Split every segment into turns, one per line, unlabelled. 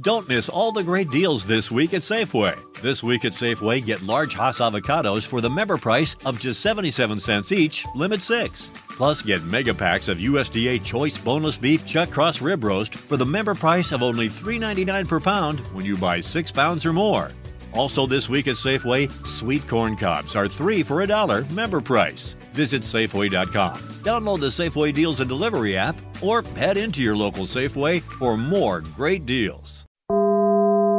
Don't miss all the great deals this week at Safeway. This week at Safeway, get large Hass avocados for the member price of just 77 cents each, limit six. Plus, get mega packs of USDA Choice Boneless Beef Chuck Cross Rib Roast for the member price of only $3.99 per pound when you buy six pounds or more. Also, this week at Safeway, sweet corn cobs are three for a dollar member price. Visit Safeway.com, download the Safeway Deals and Delivery app, or head into your local Safeway for more great deals.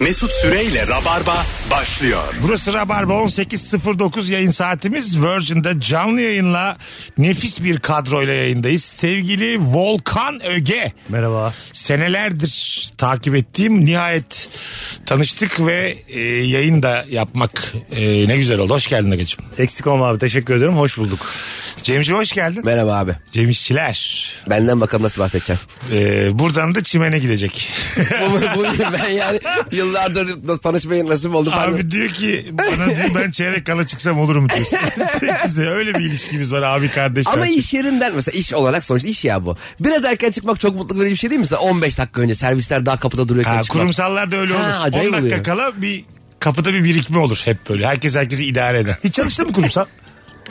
Mesut Süreyle Rabarba başlıyor.
Burası Rabarba 18.09 yayın saatimiz. Virgin'de canlı yayınla nefis bir kadroyla yayındayız. Sevgili Volkan Öge.
Merhaba.
Senelerdir takip ettiğim nihayet tanıştık ve e, yayın da yapmak e, ne güzel oldu. Hoş geldin Agacığım.
Eksik olma abi. Teşekkür ediyorum. Hoş bulduk.
Cemciğim hoş geldin.
Merhaba abi.
Cem İşçiler.
Benden bakalım nasıl bahsedeceksin.
E, buradan da çimene gidecek.
bu, bu, ben yani yıllardır nasıl tanışmaya nasip oldu. Abi.
Abi diyor ki bana diyor, ben çeyrek kala çıksam olur mu diyor. Sekize öyle bir ilişkimiz var abi kardeş.
Ama
kardeş.
iş yerinden mesela iş olarak sonuçta iş ya bu. Biraz erken çıkmak çok mutluluk verici bir şey değil mi? Mesela 15 dakika önce servisler daha kapıda duruyorken
Ha,
çıkmak.
kurumsallar da öyle olur.
Ha,
10
acayip
dakika
oluyor.
kala bir kapıda bir birikme olur hep böyle. Herkes herkesi idare eder. Hiç çalıştın mı kurumsal?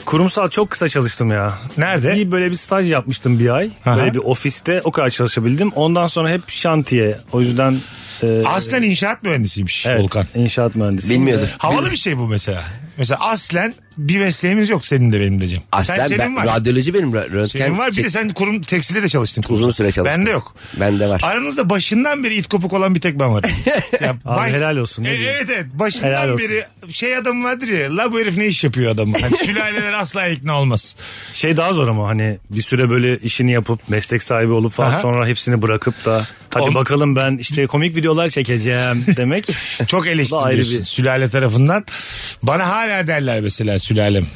Kurumsal çok kısa çalıştım ya.
Nerede?
İyi böyle bir staj yapmıştım bir ay.
Aha.
Böyle bir ofiste o kadar çalışabildim. Ondan sonra hep şantiye. O yüzden e,
Aslen inşaat mühendisiymiş
evet,
Volkan.
inşaat mühendisi.
Bilmiyordum.
Havalı bir şey bu mesela. Mesela aslen bir mesleğimiz yok senin de benim de Cem.
Aslen
Sen, senin
ben,
var.
radyoloji benim. ra- Röntgen.
senin var. Bir
şey-
de sen kurum tekstilde de çalıştın. kurumsal.
Uzun süre çalıştım.
Bende yok.
Bende var.
Aranızda başından beri it kopuk olan bir tek ben varım. Ya
Abi
bay-
helal olsun, ne
E,
diyeyim?
evet evet. Başından
Helal olsun.
beri şey adam vardır ya. La bu herif ne iş yapıyor adamı. Hani sülaleler asla ikna olmaz.
Şey daha zor ama hani bir süre böyle işini yapıp meslek sahibi olup falan
Aha.
sonra hepsini bırakıp da hadi
On-
bakalım ben işte komik videolar çekeceğim demek.
Çok
Ayrı
eleştiriliyorsun
bir-
sülale tarafından. Bana hala derler mesela sülalem.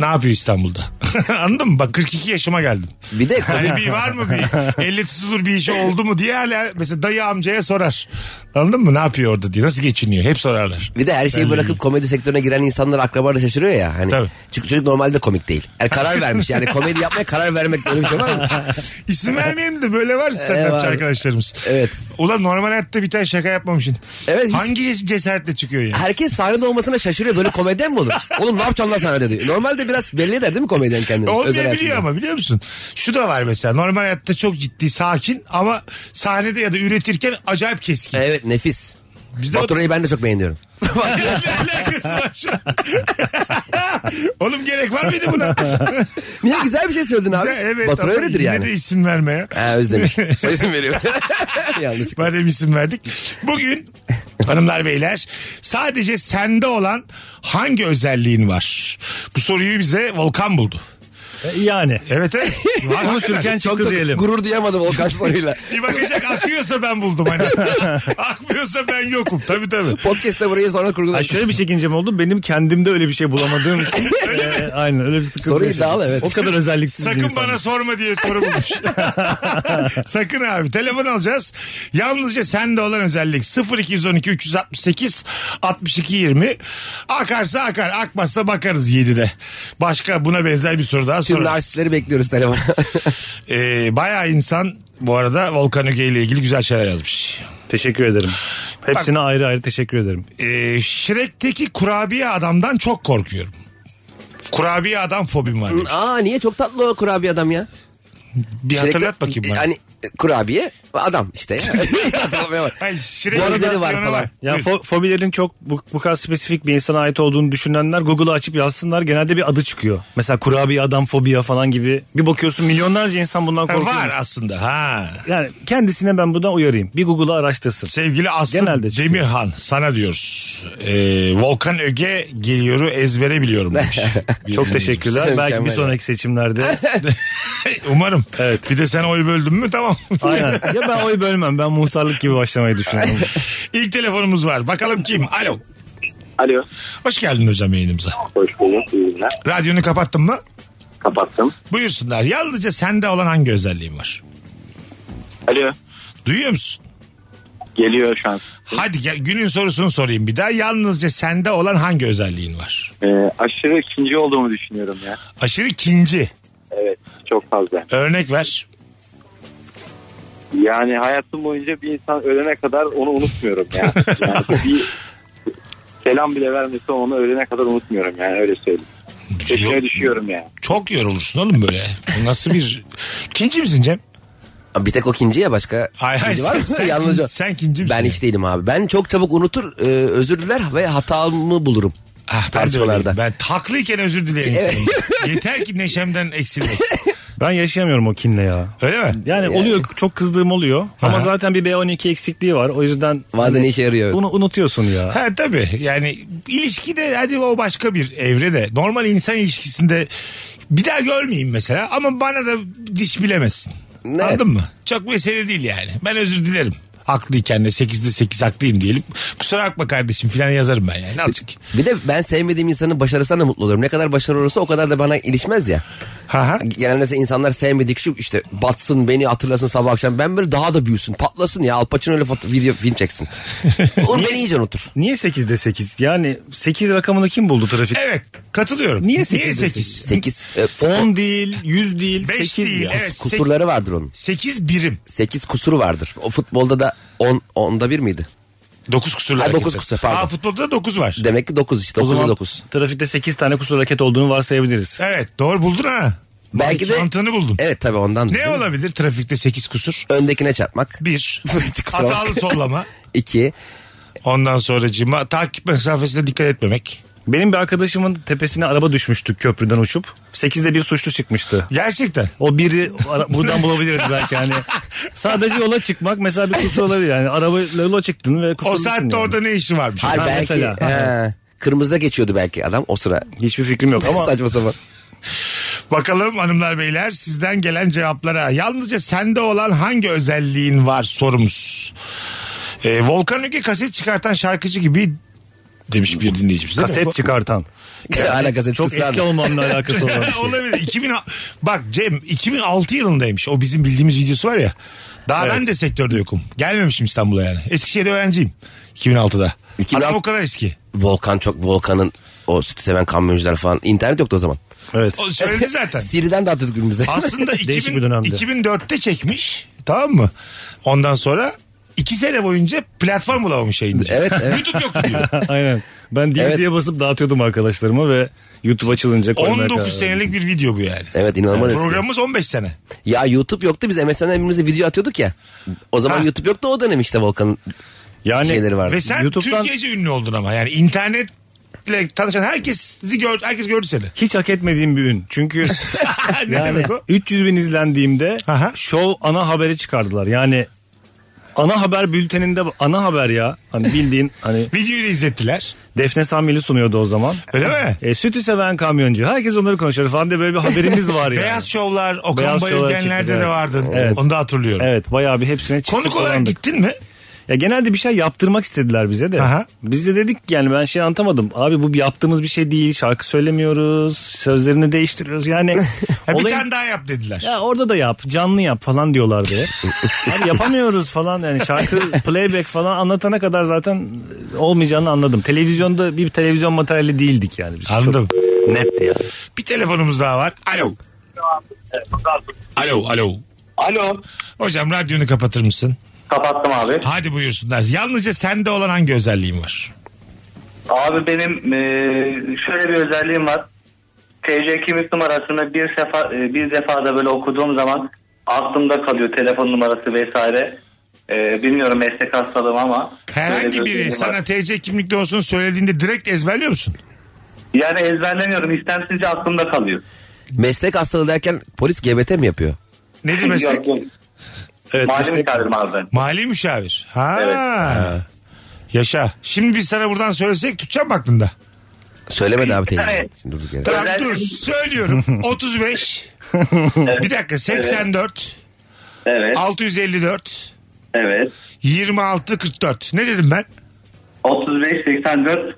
Ne yapıyor İstanbul'da? Anladın mı? Bak 42 yaşıma geldim.
Bir de
Hani bir var mı bir elle tutulur bir işi oldu mu diye hala mesela dayı amcaya sorar. Anladın mı? Ne yapıyor orada diye. Nasıl geçiniyor? Hep sorarlar.
bir de her şeyi bırakıp komedi sektörüne giren insanlar akraba da şaşırıyor ya. Hani
Tabii.
Çünkü çocuk normalde komik değil. Yani karar vermiş yani komedi yapmaya karar vermek öyle bir şey var mı?
İsim vermeyeyim de böyle var stand
var.
arkadaşlarımız.
Evet.
Ulan normal hayatta bir tane şaka yapmamışsın.
Evet, hiç-
Hangi cesaretle çıkıyor yani?
Herkes sahnede olmasına şaşırıyor. Böyle komedyen mi olur? Oğlum ne yapacaksın lan sahnede diyor. Normalde biraz belli eder değil mi komedyen kendini? Özel hayatında.
Olmayabiliyor ama biliyor musun? Şu da var mesela normal hayatta çok ciddi sakin ama sahnede ya da üretirken acayip keskin.
Evet nefis.
Bizde o-
Faturayı ben de çok beğeniyorum.
Ne alakası var şu an? Oğlum gerek var mıydı buna?
Niye güzel bir şey söyledin abi?
evet,
Fatura
ama
öyledir
yine
yani.
de isim vermeye.
Ha Özdemir. Soyisim veriyor. Yanlış.
Madem isim verdik. Bugün hanımlar beyler sadece sende olan hangi özelliğin var? Bu soruyu bize Volkan buldu.
yani.
Evet evet. Var, hakikaten.
Konuşurken
Çok
çıktı
da
diyelim.
gurur duyamadım Volkan soruyla.
Bir bakacak akıyorsa ben buldum hani. Akmıyorsa ben yokum. Tabii tabii.
Podcast'te burayı sonra
Ay
kurguladım.
şöyle bir çekincem oldu. Benim kendimde öyle bir şey bulamadığım için. Ee, aynen öyle bir sıkıntı.
Soru
yaşadım.
iddialı, evet.
O kadar özelliksiz bir
Sakın
insanım.
bana sorma diye soru bulmuş. Sakın abi. Telefon alacağız. Yalnızca sende olan özellik 0212 368 62 20. Akarsa akar. Akmazsa bakarız 7'de. Başka buna benzer bir soru daha
Tüm
sorarız.
narsistleri bekliyoruz telefona.
Ee, bayağı insan bu arada Volkan Öge ile ilgili güzel şeyler yazmış.
Teşekkür ederim. Hepsine ayrı ayrı teşekkür ederim.
Ee, Shrek'teki kurabiye adamdan çok korkuyorum. Kurabiye adam fobim var. demiş.
Aa niye çok tatlı o kurabiye adam ya.
Bir hatırlat bakayım bana.
Hani kurabiye adam işte ya. Hatırlamaya bak.
Ay, Shrek
Gözleri var
adaptasyonu
falan.
Ya fo- fobilerin çok bu, bu kadar spesifik bir insana ait olduğunu düşünenler Google'ı açıp yazsınlar genelde bir adı çıkıyor. Mesela kurabiye adam fobia falan gibi. Bir bakıyorsun milyonlarca insan bundan
Ha,
korkuyor.
Var aslında ha.
Yani kendisine ben buradan uyarayım. Bir Google'ı araştırsın.
Sevgili Aslı
Genelde çıkıyor.
Demirhan sana diyoruz. Ee, Volkan Öge geliyoru ezbere biliyorum demiş.
Çok teşekkürler. Belki bir
Mükemmel.
sonraki seçimlerde.
Umarım.
Evet.
Bir de sen oy böldün mü tamam.
Aynen. Ya ben oy bölmem. Ben muhtarlık gibi başlamayı düşünüyorum.
İlk telefonumuz var. Bakalım kim? Alo.
Alo.
Hoş geldin hocam yayınımıza.
Hoş bulduk. İyi günler.
Radyonu kapattın mı?
Kapattım.
Buyursunlar. Yalnızca sende olan hangi özelliğin var?
Alo.
Duyuyor musun?
Geliyor şu an.
Hadi gel, günün sorusunu sorayım bir daha. Yalnızca sende olan hangi özelliğin var?
Ee, aşırı ikinci olduğumu düşünüyorum ya.
Aşırı kinci.
Evet çok fazla.
Örnek ver.
Yani hayatım boyunca bir insan ölene kadar onu unutmuyorum ya. Yani bir selam bile vermese onu ölene kadar unutmuyorum yani öyle söyleyeyim. Peşine
Yo-
düşüyorum yani.
Çok yorulursun oğlum böyle. Bu Nasıl bir... Kinci misin Cem?
Abi Bir tek o kinci ya başka
Hayır hayır
kinci var
sen,
mı?
sen,
Yalnızca.
kin- sen kinci misin?
Ben hiç değilim abi. Ben çok çabuk unutur, e, özür diler ve hatamı bulurum.
Ah, ben de
tartışmalarda.
öyleyim. Ben haklıyken özür dilerim. insanım. Yeter ki neşemden eksilmesin.
Ben yaşayamıyorum o kinle ya.
Öyle mi?
Yani, oluyor çok kızdığım oluyor ama zaten bir B12 eksikliği var o yüzden
Bazen
Hani
işe yarıyor.
bunu unutuyorsun ya.
Ha tabii yani ilişkide hadi o başka bir evrede normal insan ilişkisinde bir daha görmeyeyim mesela ama bana da diş bilemesin.
Evet.
Anladın mı? Çok mesele değil yani. Ben özür dilerim. Haklıyken de 8'de 8 haklıyım diyelim. Kusura bakma kardeşim filan yazarım ben yani. Ne olacak?
Bir de ben sevmediğim insanın başarısına da mutlu olurum. Ne kadar başarılı olursa o kadar da bana ilişmez ya.
Ha ha.
Genelde mesela insanlar sevmediği kişi işte batsın beni hatırlasın sabah akşam. Ben böyle daha da büyüsün patlasın ya. Al Pacino öyle foto- video film çeksin. Onu beni iyice unutur.
Niye 8'de 8? Yani 8 rakamını kim buldu trafik?
Evet katılıyorum.
Niye
Niye
8'de
8?
8
10 değil, 100 değil,
5
8
değil
ya.
evet.
kusurları vardır onun.
8 birim.
8 kusuru vardır. O futbolda da 10 onda 1 miydi?
9 kusurlar.
Ha, dokuz
hareketi.
kusur, pardon.
Aa, futbolda da 9 var.
Demek ki 9 işte.
O
9'a
zaman
9.
trafikte 8 tane kusur hareket olduğunu varsayabiliriz.
Evet doğru buldun ha.
Belki de E-
Mantığını buldum.
Evet tabii ondan.
Ne olabilir trafikte 8 kusur?
Öndekine çarpmak.
1.
Kusura bakma.
Hatalı sollama.
2.
Ondan sonracığıma takip mesafesine dikkat etmemek.
Benim bir arkadaşımın tepesine araba düşmüştü köprüden uçup. 8'de bir suçlu çıkmıştı.
Gerçekten.
O biri ara- buradan bulabiliriz belki hani. Sadece yola çıkmak mesela bir kusur olabilir yani. Arabayla yola çıktın ve
O
kusurlusun
saatte
yani.
orada ne işi varmış?
Hayır
Ha,
belki.
mesela.
he. Kırmızıda geçiyordu belki adam o sıra.
Hiçbir fikrim yok ama
Saçma sapan.
Bakalım hanımlar beyler sizden gelen cevaplara. Yalnızca sende olan hangi özelliğin var sorumuz. Ee, Volkan Ülke kaset çıkartan şarkıcı gibi demiş bir dinleyicimiz. değil mi?
kaset çıkartan.
Hala gazete
Çok
kısrarlı.
eski olmamla alakası olan bir şey.
Olabilir. 2000, bak Cem 2006 yılındaymış. O bizim bildiğimiz videosu var ya. Daha ben de sektörde yokum. Gelmemişim İstanbul'a yani. Eskişehir'de öğrenciyim. 2006'da.
2006
Adam o kadar eski.
Volkan çok Volkan'ın o sütü seven kamyoncular falan. internet yoktu o zaman.
Evet.
O söyledi zaten.
Siri'den de atıyorduk birbirimize.
Aslında
Değişik
2000
bir dönemdi.
2004'te çekmiş. Tamam mı? Ondan sonra iki sene boyunca platform bulamamış yayıncı.
Evet, evet.
YouTube yok diyor.
Aynen. Ben diye
Evet.
diye basıp dağıtıyordum arkadaşlarıma ve YouTube açılınca koymaya karar
19
verdim.
senelik bir video bu yani.
Evet inanılmaz eski.
Programımız 15 sene.
Ya YouTube yoktu biz MSN'den birbirimize video atıyorduk ya. O zaman
Ha.
YouTube yoktu o dönem işte Volkan'ın
Yani
şeyleri vardı.
Ve sen
YouTube'dan-
Türkiye'ce ünlü oldun ama. Yani internetle tanışan herkesi gör, herkes gördü seni.
hiç hak etmediğim bir ün. Çünkü
ne
yani
demek o?
300 bin izlendiğimde
Aha.
show ana haberi çıkardılar. Yani ana haber bülteninde ana haber ya. Hani bildiğin hani
Videoyu da izlettiler.
Defne Samyeli sunuyordu o zaman.
Öyle mi?
E, sütü seven kamyoncu. Herkes onları konuşuyor falan diye böyle bir haberimiz var yani.
Beyaz şovlar, Okan
Beyaz şovlara
Bayülgenler'de
çıktı,
de
evet.
vardı.
Evet.
Onu da hatırlıyorum.
Evet bayağı bir hepsine çıktık.
Konuk olarak
dolandık.
gittin mi?
Ya genelde bir şey yaptırmak istediler bize de.
Aha.
Biz de dedik ki yani ben şey anlatamadım. Abi bu yaptığımız bir şey değil. Şarkı söylemiyoruz. Sözlerini değiştiriyoruz. Yani
Ha, bir
olayın-
tane daha yap dediler.
Ya orada da yap, canlı yap falan diyorlardı. Abi yapamıyoruz falan yani şarkı playback falan anlatana kadar zaten olmayacağını anladım. Televizyonda bir televizyon materyali değildik yani biz.
Anladım.
Çok netti yani.
Bir telefonumuz daha var. Alo. Alo, alo.
Alo.
Hocam radyonu kapatır mısın?
Kapattım abi.
Hadi buyursunlar. Yalnızca sende olan hangi özelliğin var?
Abi benim e, şöyle bir özelliğim var. TC kimlik numarasını bir sefa e, bir defada böyle okuduğum zaman aklımda kalıyor telefon numarası vesaire. E, bilmiyorum meslek hastalığım ama böyle
Herhangi biri
özelliğim
sana
şey var.
TC kimlikte olsun söylediğinde direkt ezberliyor musun?
yani ezberlemiyorum istemsizce aklımda kalıyor.
meslek hastalığı derken polis GBT mi yapıyor?
Nedir meslek?
Yok, yok.
Evet,
Mali
meslek-
müdavim abi ben.
Mali müşavir. Ha.
Evet.
Yaşa. Şimdi biz sana buradan söylesek tutacağım mı aklında?
Söylemedi abi teyze.
Evet.
Şimdi durduk yere.
Tamam
Özel-
dur söylüyorum. 35. bir dakika 84.
Evet
654.
evet.
26 44. Ne dedim ben?
35 84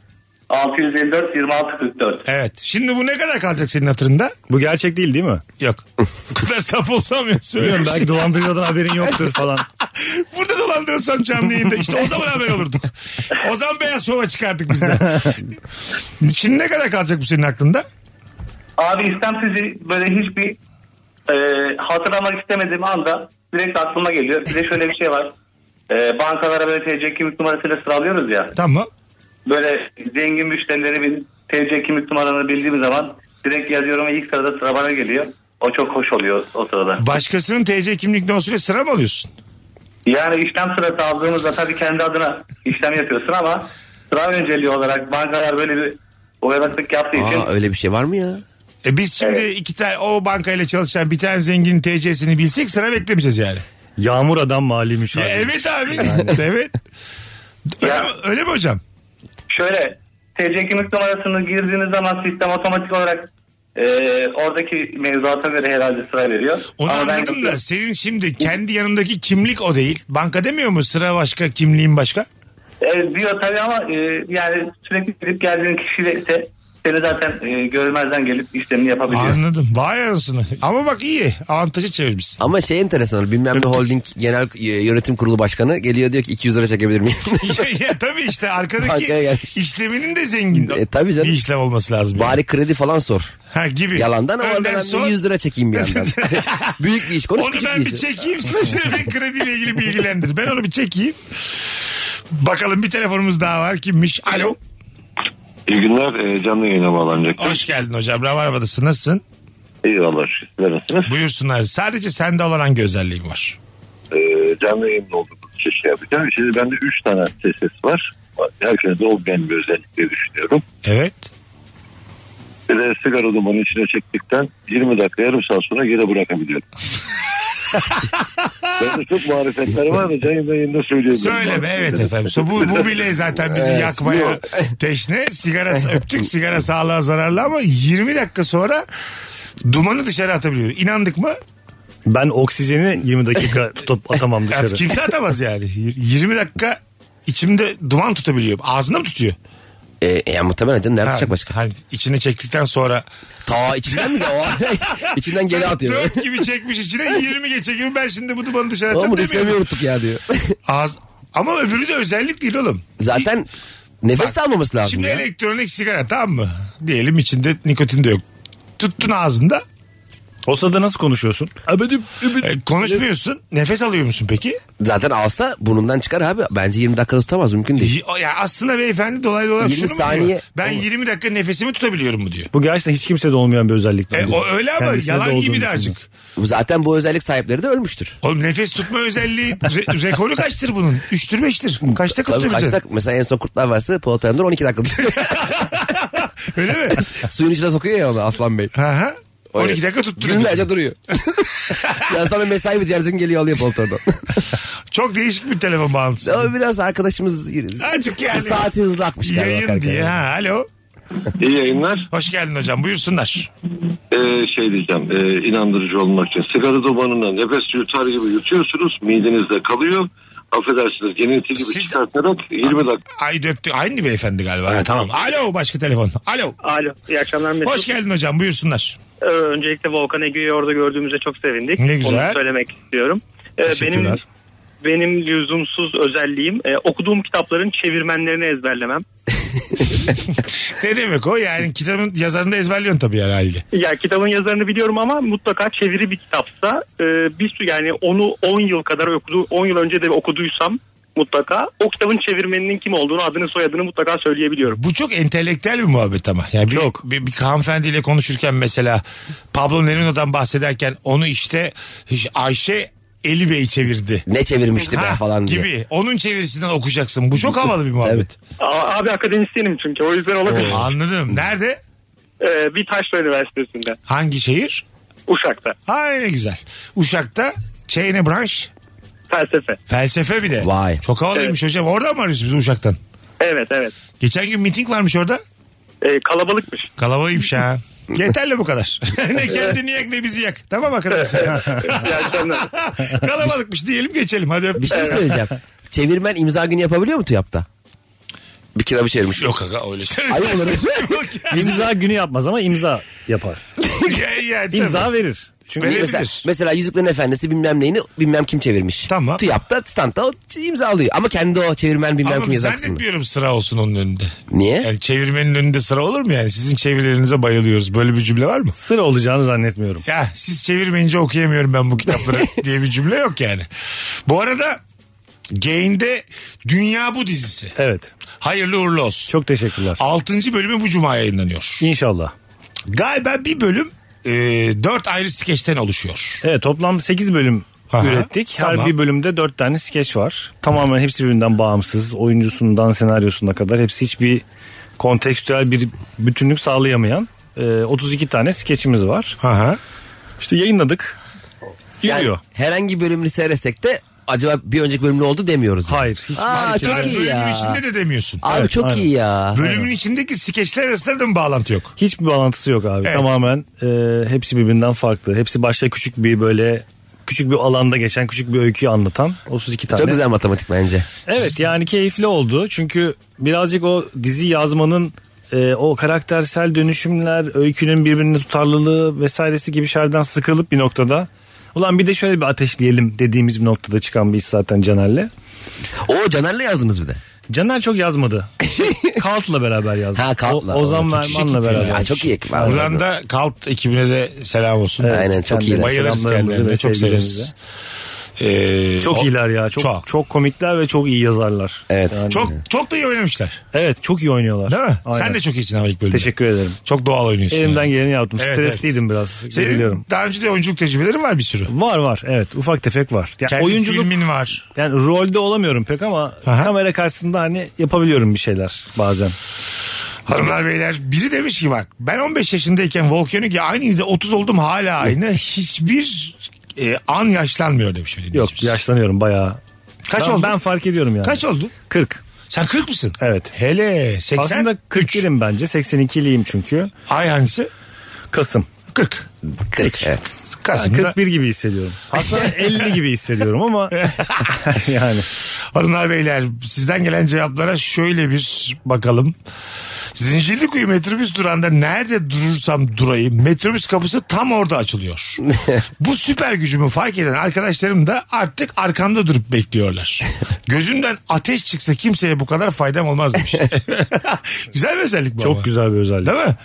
654 26 44.
Evet. Şimdi bu ne kadar kalacak senin hatırında?
Bu gerçek değil değil mi?
Yok. bu kadar saf olsam ya
Bilmiyorum
söylüyorum.
şey
belki dolandırıcıdan haberin yoktur falan.
Burada dolandırsam canlı yayında işte o zaman haber olurduk. O zaman beyaz şova çıkardık biz de. Şimdi ne kadar kalacak bu senin aklında?
Abi istemsizce böyle hiçbir e, hatırlamak istemediğim anda direkt aklıma geliyor. Bir de şöyle bir şey var. E, bankalara böyle TC kimlik numarasıyla sıralıyoruz ya.
Tamam.
Böyle zengin müşterileri bir TC kimlik numaranı bildiğim zaman direkt yazıyorum ve ilk sırada sıra bana geliyor. O çok hoş oluyor o sırada.
Başkasının TC kimlik numarasıyla sıra mı alıyorsun?
Yani işlem sırası aldığımızda tabii kendi adına işlem yapıyorsun ama sıra önceliği olarak bankalar böyle bir uyanıklık yaptığı için
Aa öyle bir şey var mı ya?
E biz şimdi
Evet.
iki tane o bankayla çalışan bir tane zenginin TC'sini bilsek sıra beklemeyeceğiz yani.
Yağmur adam maliymiş abi.
Ya evet abi. evet. Öyle,
Ya-
mi, öyle mi hocam?
şöyle TC kimlik numarasını girdiğiniz zaman sistem otomatik olarak e, oradaki mevzuata göre herhalde sıra veriyor.
Onu
Ama ben
anladım da
yapıyorum.
senin şimdi kendi yanındaki kimlik o değil. Banka demiyor mu sıra başka kimliğin başka?
E, diyor tabii ama e, yani sürekli gidip geldiğin kişiyle ise seni zaten e, görmezden gelip işlemini yapabiliyor.
Anladım. Vay anasını. Ama bak iyi. Avantajı çevirmişsin.
Ama şey enteresan bilmem ne holding genel e, yönetim kurulu başkanı geliyor diyor ki 200 lira çekebilir miyim?
ya, ya tabii işte arkadaki
Bankaya gelmiş.
işleminin de zengin.
E, tabii canım.
Bir işlem olması lazım. yani.
Bari kredi falan sor.
Ha gibi.
Yalandan ama
Önden
oradan ben
son-
bir 100 lira çekeyim bir yandan. Büyük bir iş konuş
Onu
küçük
ben
bir
bir
iş.
çekeyim size bir krediyle ilgili bilgilendir. Ben onu bir çekeyim. Bakalım bir telefonumuz daha var. Kimmiş? Alo.
İyi günler. Ee, canlı yayına bağlanacaktım.
Hoş geldin hocam. Rabarba'dasın. Nasılsın?
Eyvallah. Sizler nasılsınız?
Buyursunlar. Sadece sende olan hangi özelliğin var?
Ee, canlı yayında olduğumuz için şey yapacağım. Şimdi bende 3 tane ses var. Herkese olmayan bir özellik diye düşünüyorum.
Evet.
Bir de sigara dumanı içine çektikten 20 dakika yarım saat sonra geri bırakabiliyorum. Bende çok marifetler var da canlı yayında söyleyemiyorum.
Söyleme evet efendim. So, bu, bu bile zaten bizi yakmaya teşne. Sigara öptük sigara sağlığa zararlı ama 20 dakika sonra dumanı dışarı atabiliyor. İnandık mı?
Ben oksijeni 20 dakika tutup atamam
Ya,
dışarı.
kimse atamaz yani. 20 dakika içimde duman tutabiliyor. Ağzında mı tutuyor?
E, e, ya muhtemelen canım nerede
Ha,
tutacak başka?
Hani içine çektikten sonra
Ta içinden mi? O, içinden geri atıyor.
4 gibi çekmiş içine 20 geçe gibi ben şimdi bu dumanı dışarı
Oğlum
atacağım
bu nefemi
demiyorum.
unuttuk ya diyor.
Ağız... Ama öbürü de özellik değil oğlum.
Zaten nefes de almaması lazım
Şimdi
ya.
elektronik sigara tamam mı? Diyelim içinde nikotin de yok. Tuttun ağzında
O sırada nasıl konuşuyorsun? Abedim,
E, konuşmuyorsun. Nefes alıyor musun peki?
Zaten alsa burnundan çıkar abi. Bence 20 dakika tutamaz mümkün değil.
Y- o- Ya aslında beyefendi dolaylı olarak
20
şunu mu diyor?
saniye-
Ben 20 dakika nefesimi tutabiliyorum mu diyor.
Bu gerçekten hiç kimsede olmayan bir özellik.
E,
bence.
o öyle ama
Kendisine de
yalan
olduğunu
gibi de
düşünüyorum.
acık.
Zaten bu özellik sahipleri de ölmüştür.
Oğlum nefes tutma özelliği re- rekoru kaçtır bunun? Üçtür beştir. Kaçta
Tabii kaç
tutabileceksin?
dakika? Mesela en son Kurtlar Vadisi Polat Alemdar 12 dakika.
Öyle mi?
Suyun içine sokuyor ya onu Aslan Bey.
Hı hı. 12 dakika tutturuyor.
Günlerce duruyor. Yazdan bir mesai bitiyor. Ertesi gün geliyor alıyor Polat
Çok değişik bir telefon bağlantısı.
Ama biraz arkadaşımız
Azıcık yani.
saati hızlı akmış galiba.
Yayın
kanka.
diye. Ha, alo.
İyi yayınlar.
Hoş geldin hocam. Buyursunlar.
Ee, şey diyeceğim e, inandırıcı olmak için sigara dumanına nefes yutar gibi yutuyorsunuz midenizde kalıyor affedersiniz gelinti gibi
Siz-
çıkartarak 20 dakika
Ay döptü. Aynı beyefendi galiba. Ha, tamam. Alo başka telefon. Alo.
Alo, iyi akşamlar
E,
Mesut.
Hoş geldin hocam. Buyursunlar.
Ee, öncelikle Volkan Ege'yi orada gördüğümüzde çok sevindik.
Ne güzel.
Onu söylemek istiyorum. Ee, benim
Teşekkürler.
benim lüzumsuz özelliğim e, okuduğum kitapların çevirmenlerini ezberlemem.
Ne demek o? Yani kitabın yazarını da ezberliyorsun tabii yani haliyle.
Ya kitabın yazarını biliyorum ama mutlaka çeviri bir kitapsa e, bir sürü yani onu 10 yıl kadar okudu 10 yıl önce de okuduysam mutlaka o kitabın çevirmeninin kim olduğunu adını soyadını mutlaka söyleyebiliyorum.
Bu çok entelektüel bir muhabbet ama. Yani bir, çok. Bir, bir hanımefendiyle konuşurken mesela Pablo Neruda'dan bahsederken onu işte Ayşe Eli Bey çevirdi.
Ne çevirmişti be
Ha,
falan diye.
gibi. Onun çevirisinden okuyacaksın. Bu çok havalı bir muhabbet.
A- abi akademisyenim çünkü o yüzden olabilir.
Anladım. Nerede?
Ee, bir Taşra Üniversitesi'nde
Hangi şehir?
Uşak'ta
Ha ne güzel. Uşak'ta şey ne branş?
felsefe.
Felsefe bir de.
Vay.
Çok havalıymış hocam. Oradan mı arıyorsun biz Uşak'tan?
Evet evet.
Geçen gün miting varmış orada.
Ee, kalabalıkmış.
Kalabalıymış şey ha. Yeterli bu kadar. ne kendini yak ne bizi yak. Tamam arkadaşlar.
İyi akşamlar.
Kalabalıkmış diyelim geçelim. Hadi öptük.
Bir şey söyleyeceğim. Çevirmen imza günü yapabiliyor mu TÜYAP'ta? Bir kitabı çevirmiş.
Yok aga öyle şey.
Ayıp olur.
Yok ya.
İmza günü yapmaz ama imza yapar.
Ya, ya, tabii.
İmza verir. Çünkü
Verebilir.
Mesela, mesela Yüzüklerin Efendisi bilmem neyini bilmem kim çevirmiş.
Tamam.
TÜYAP'ta standta o imzalıyor. Ama kendi o çevirmen bilmem
Ama E,
kim yazan kısmını.
zannetmiyorum sıra olsun onun önünde.
Niye?
Yani çevirmenin önünde sıra olur mu yani? Sizin çevirilerinize bayılıyoruz. Böyle bir cümle var mı?
sıra olacağını zannetmiyorum.
Ya siz çevirmeyince okuyamıyorum ben bu kitapları diye bir cümle yok yani. Bu arada Gain'de Dünya Bu dizisi.
Evet.
Hayırlı uğurlu olsun.
Çok teşekkürler.
6. bölümü bu cuma yayınlanıyor.
İnşallah.
Galiba bir bölüm e, 4 ayrı skeçten oluşuyor.
Evet toplam 8 bölüm
Aha,
ürettik. Her
tamam.
bir bölümde 4 tane skeç var. Tamamen hepsi birbirinden bağımsız. Oyuncusundan senaryosuna kadar hepsi hiçbir kontekstüel bir bütünlük sağlayamayan e, 32 tane skeçimiz var.
Aha.
İşte yayınladık.
Yani
Yürüyor.
herhangi bölümünü seyretsek de acaba bir önceki bölüm ne oldu demiyoruz. yani.
Hayır. Hiç
Aa çok iyi
bölümün
ya.
içinde de demiyorsun.
Abi
Evet,
çok
aynen.
iyi ya.
Bölümün içindeki skeçler arasında da mı bağlantı yok?
Hiçbir bağlantısı yok abi.
Evet.
Tamamen e, hepsi birbirinden farklı. Hepsi başta küçük bir böyle küçük bir alanda geçen küçük bir öyküyü anlatan 32 tane.
Çok güzel matematik bence.
Evet yani keyifli oldu. Çünkü birazcık o dizi yazmanın e, o karaktersel dönüşümler, öykünün birbirine tutarlılığı vesairesi gibi şeylerden sıkılıp bir noktada ulan bir de şöyle bir ateşleyelim dediğimiz bir noktada çıkan bir iş zaten Caner'le.
O Caner'le yazdınız bir de.
Caner çok yazmadı. Kalt'la beraber yazdı.
Ha, Kalt'la.
O, Ozan
O çok
Verman'la
şekil ya.
beraber.
Ha, çok iyi ekip abi.
Buradan da Kalt ekibine de selam olsun.
Evet, Aynen, çok
kendilerine
iyiler.
Bayılırız
selamlarımızı
kendilerine.
ve
Çok
sevgilerimizi.
severiz. Ee,
Çok
o-
iyiler ya. Çok, çok komikler ve çok iyi yazarlar.
Evet.
Yani-
Çok çok da iyi oynamışlar.
Evet, çok iyi oynuyorlar.
Değil mi?
Aynen.
Sen de çok iyisin ama ilk bölümde.
Teşekkür ederim.
Çok doğal oynuyorsun.
Elimden
yani.
geleni yaptım.
Evet,
Stresliydim biraz.
Senin
Biliyorum.
daha önce de oyunculuk tecrübelerin var bir sürü.
Var var evet ufak tefek var. Yani
Kendi
oyunculuk
filmin var.
yani rolde olamıyorum pek ama
Aha.
kamera karşısında hani yapabiliyorum bir şeyler bazen.
Hanımlar beyler biri demiş ki bak ben 15 yaşındayken volkanik ya aynı izde 30 oldum hala aynı. Hiçbir e, an yaşlanmıyor demiş. bir
Yok
dinleyicimiz.
yaşlanıyorum bayağı.
Kaç
ben,
oldu?
Ben fark ediyorum yani.
Kaç oldu?
40.
Sen 40 mısın?
Evet.
Hele 80.
Aslında 41'im bence. 82'liyim çünkü.
Ay hangisi?
Kasım.
40.
Kırık. Evet.
Kasım'da.
41 gibi hissediyorum. Aslında 50 gibi hissediyorum ama yani.
Hanımlar beyler sizden gelen cevaplara şöyle bir bakalım. Zincirlikuyu metrobüs durağında nerede durursam durayım metrobüs kapısı tam orada açılıyor. Bu süper gücümü fark eden arkadaşlarım da artık arkamda durup bekliyorlar. Gözümden ateş çıksa kimseye bu kadar faydam olmaz demiş. güzel bir özellik bu ama.
Çok güzel bir özellik.
Değil mi?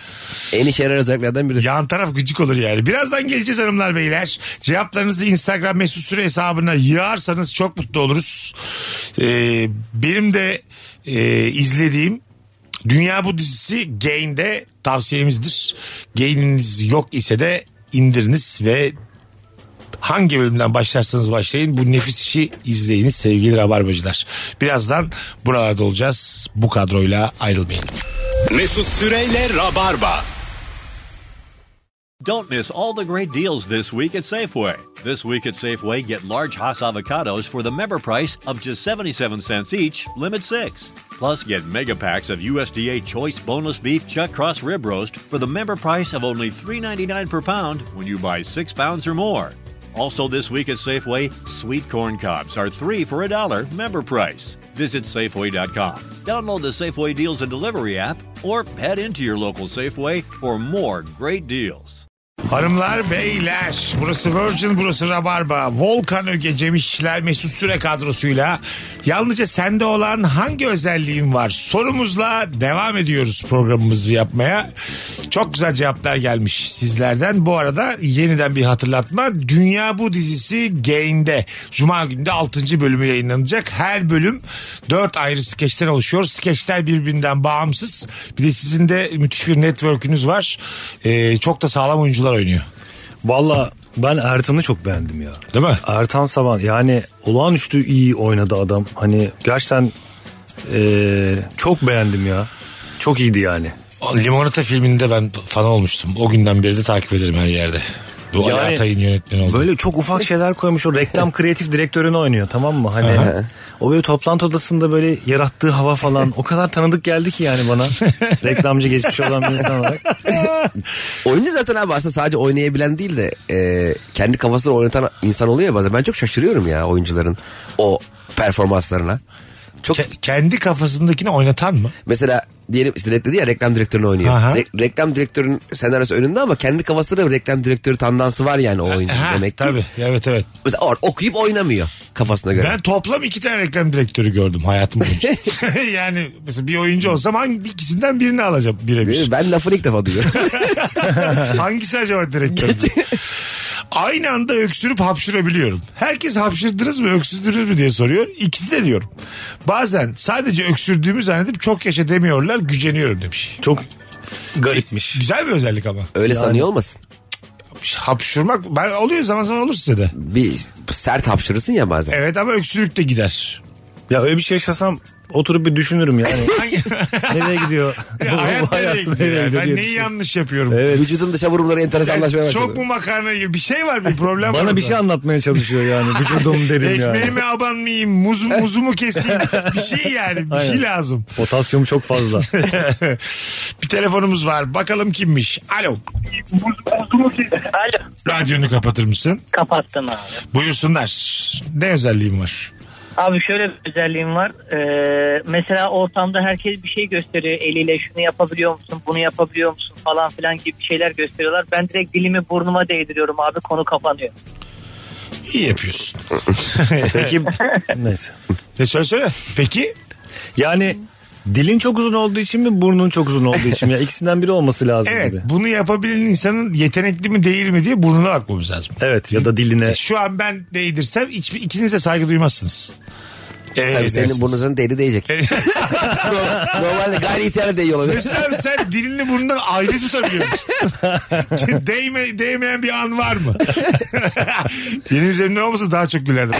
En işe yarar özelliklerden biri.
Yan taraf gıcık olur yani. Birazdan geleceğiz hanımlar beyler. Cevaplarınızı Instagram mesut süre hesabına yığarsanız çok mutlu oluruz. Ee, benim de e, izlediğim Dünya Bu dizisi Gain'de tavsiyemizdir. Gain'iniz yok ise de indiriniz ve hangi bölümden başlarsanız başlayın bu nefis işi izleyiniz sevgili rabarbacılar. Birazdan buralarda olacağız. Bu kadroyla ayrılmayın.
Mesut Süreyle Rabarba.
Don't miss all the great deals this week at Safeway. This week at Safeway, get large Hass avocados for the member price of just 77 cents each, limit six. Plus, get mega packs of USDA Choice Boneless Beef Chuck Cross Rib Roast for the member price of only $3.99 per pound when you buy six pounds or more. Also, this week at Safeway, sweet corn cobs are three for a dollar member price. Visit Safeway.com, download the Safeway Deals and Delivery app, or head into your local Safeway for more great deals.
Hanımlar beyler burası Virgin burası Rabarba Volkan Öge Cem İşçiler Mesut Süre kadrosuyla yalnızca sende olan hangi özelliğin var sorumuzla devam ediyoruz programımızı yapmaya çok güzel cevaplar gelmiş sizlerden bu arada yeniden bir hatırlatma Dünya Bu dizisi Gain'de Cuma günde 6. bölümü yayınlanacak her bölüm 4 ayrı skeçten oluşuyor skeçler birbirinden bağımsız bir de sizin de müthiş bir network'ünüz var Ee, çok da sağlam oyuncular oynuyor
Valla ben Ertan'ı çok beğendim ya.
Değil mi?
Ertan Saban yani olağanüstü iyi oynadı adam. Hani gerçekten eee, çok beğendim ya. Çok iyiydi yani.
O Limonata filminde ben fan olmuştum. O günden beri de takip ederim her yerde. Bu Ali
Yani
Atay'ın yönetmeni oldu.
Böyle çok ufak şeyler koymuş. O reklam kreatif direktörünü oynuyor tamam mı? Hani o böyle toplantı odasında böyle yarattığı hava falan o kadar tanıdık geldi ki yani bana. Reklamcı geçmiş olan bir insan olarak.
Oyuncu zaten abi aslında sadece oynayabilen değil de e, kendi kafasını oynatan insan oluyor ya bazen. Ben çok şaşırıyorum ya oyuncuların o performanslarına. Çok
Ke- kendi kafasındakini oynatan mı?
mesela diyelim işte reddedi ya reklam direktörünü oynuyor.
Aha.
Re- reklam direktörünün senaryosu önünde ama kendi kafasında reklam direktörü tandansı var yani o oyuncu
Ha,
demek ki.
tabii evet evet.
Mesela or, okuyup oynamıyor kafasına göre.
Ben toplam iki tane reklam direktörü gördüm hayatım boyunca. yani mesela bir oyuncu olsam hangi ikisinden birini alacağım birebir.
Ben, lafını ilk defa duyuyorum.
Hangisi acaba direktörüm? Aynı anda öksürüp hapşırabiliyorum. Herkes hapşırdınız mı öksürdünüz mü diye soruyor. İkisi de diyorum. Bazen sadece öksürdüğümü zannedip çok yaşa demiyorlar güceniyorum demiş.
Çok garipmiş.
Güzel bir özellik ama.
Öyle sanıyor olmasın.
Hapşırmak ben oluyor zaman zaman olur size de.
Bir sert hapşırırsın ya bazen.
Evet ama öksürük de gider.
Ya öyle bir şey yaşasam oturup bir düşünürüm yani.
Hangi-
nereye gidiyor? Bu, bu
Hayat nereye
hayatı
gidiyor?
nereye
yani?
gidiyor?
Ben
diye
neyi
düşünüyorum.
yanlış yapıyorum?
Vücudun dışa vurumları enteresanlaşmaya
Yani
başladı.
çok mu makarna gibi bir şey var bir problem var.
Bana bir
orada.
şey anlatmaya çalışıyor yani. Vücudum derim yani.
Ekmeğimi aban mıyım? Muz, muzumu keseyim? Bir şey yani. Bir şey
Aynen.
lazım.
Potasyum çok fazla.
bir telefonumuz var. Bakalım kimmiş? Alo.
Alo.
Radyonu kapatır mısın?
Kapattım abi.
Buyursunlar. Ne özelliğim var?
Abi şöyle bir özelliğim var. Ee, mesela ortamda herkes bir şey gösteriyor eliyle. Şunu yapabiliyor musun? Bunu yapabiliyor musun? Falan filan gibi şeyler gösteriyorlar. Ben direkt dilimi burnuma değdiriyorum abi. Konu kapanıyor.
İyi yapıyorsun.
Peki neyse.
Ne söyle söyle. Peki
Yani dilin çok uzun olduğu için mi burnun çok uzun olduğu için mi? Ya ikisinden biri olması lazım
evet
gibi.
bunu yapabilen insanın yetenekli mi değil mi diye burnuna bakmamız lazım.
Evet ya da diline.
Şu an ben değdirsem hiçbir, ikiniz de saygı duymazsınız. Evet,
Tabii senin
dersiniz.
burnunuzun deli değecek. Normalde gayri ihtiyar değiyor olabilir.
Mesut abi sen dilini burnundan ayrı tutabiliyor musun? Değme, değmeyen bir an var mı? Benim üzerimden olmasa daha çok gülerdim.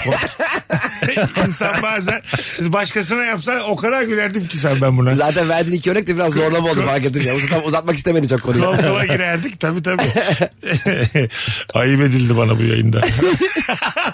İnsan bazen başkasına yapsa o kadar gülerdim ki sen ben buna.
Zaten verdiğin iki örnek de biraz zorlama oldu fark ettim ya. Uzat- uzatmak istemedim çok konuyu.
Kol kola girerdik tabii tabii. Ayıp edildi bana bu yayında.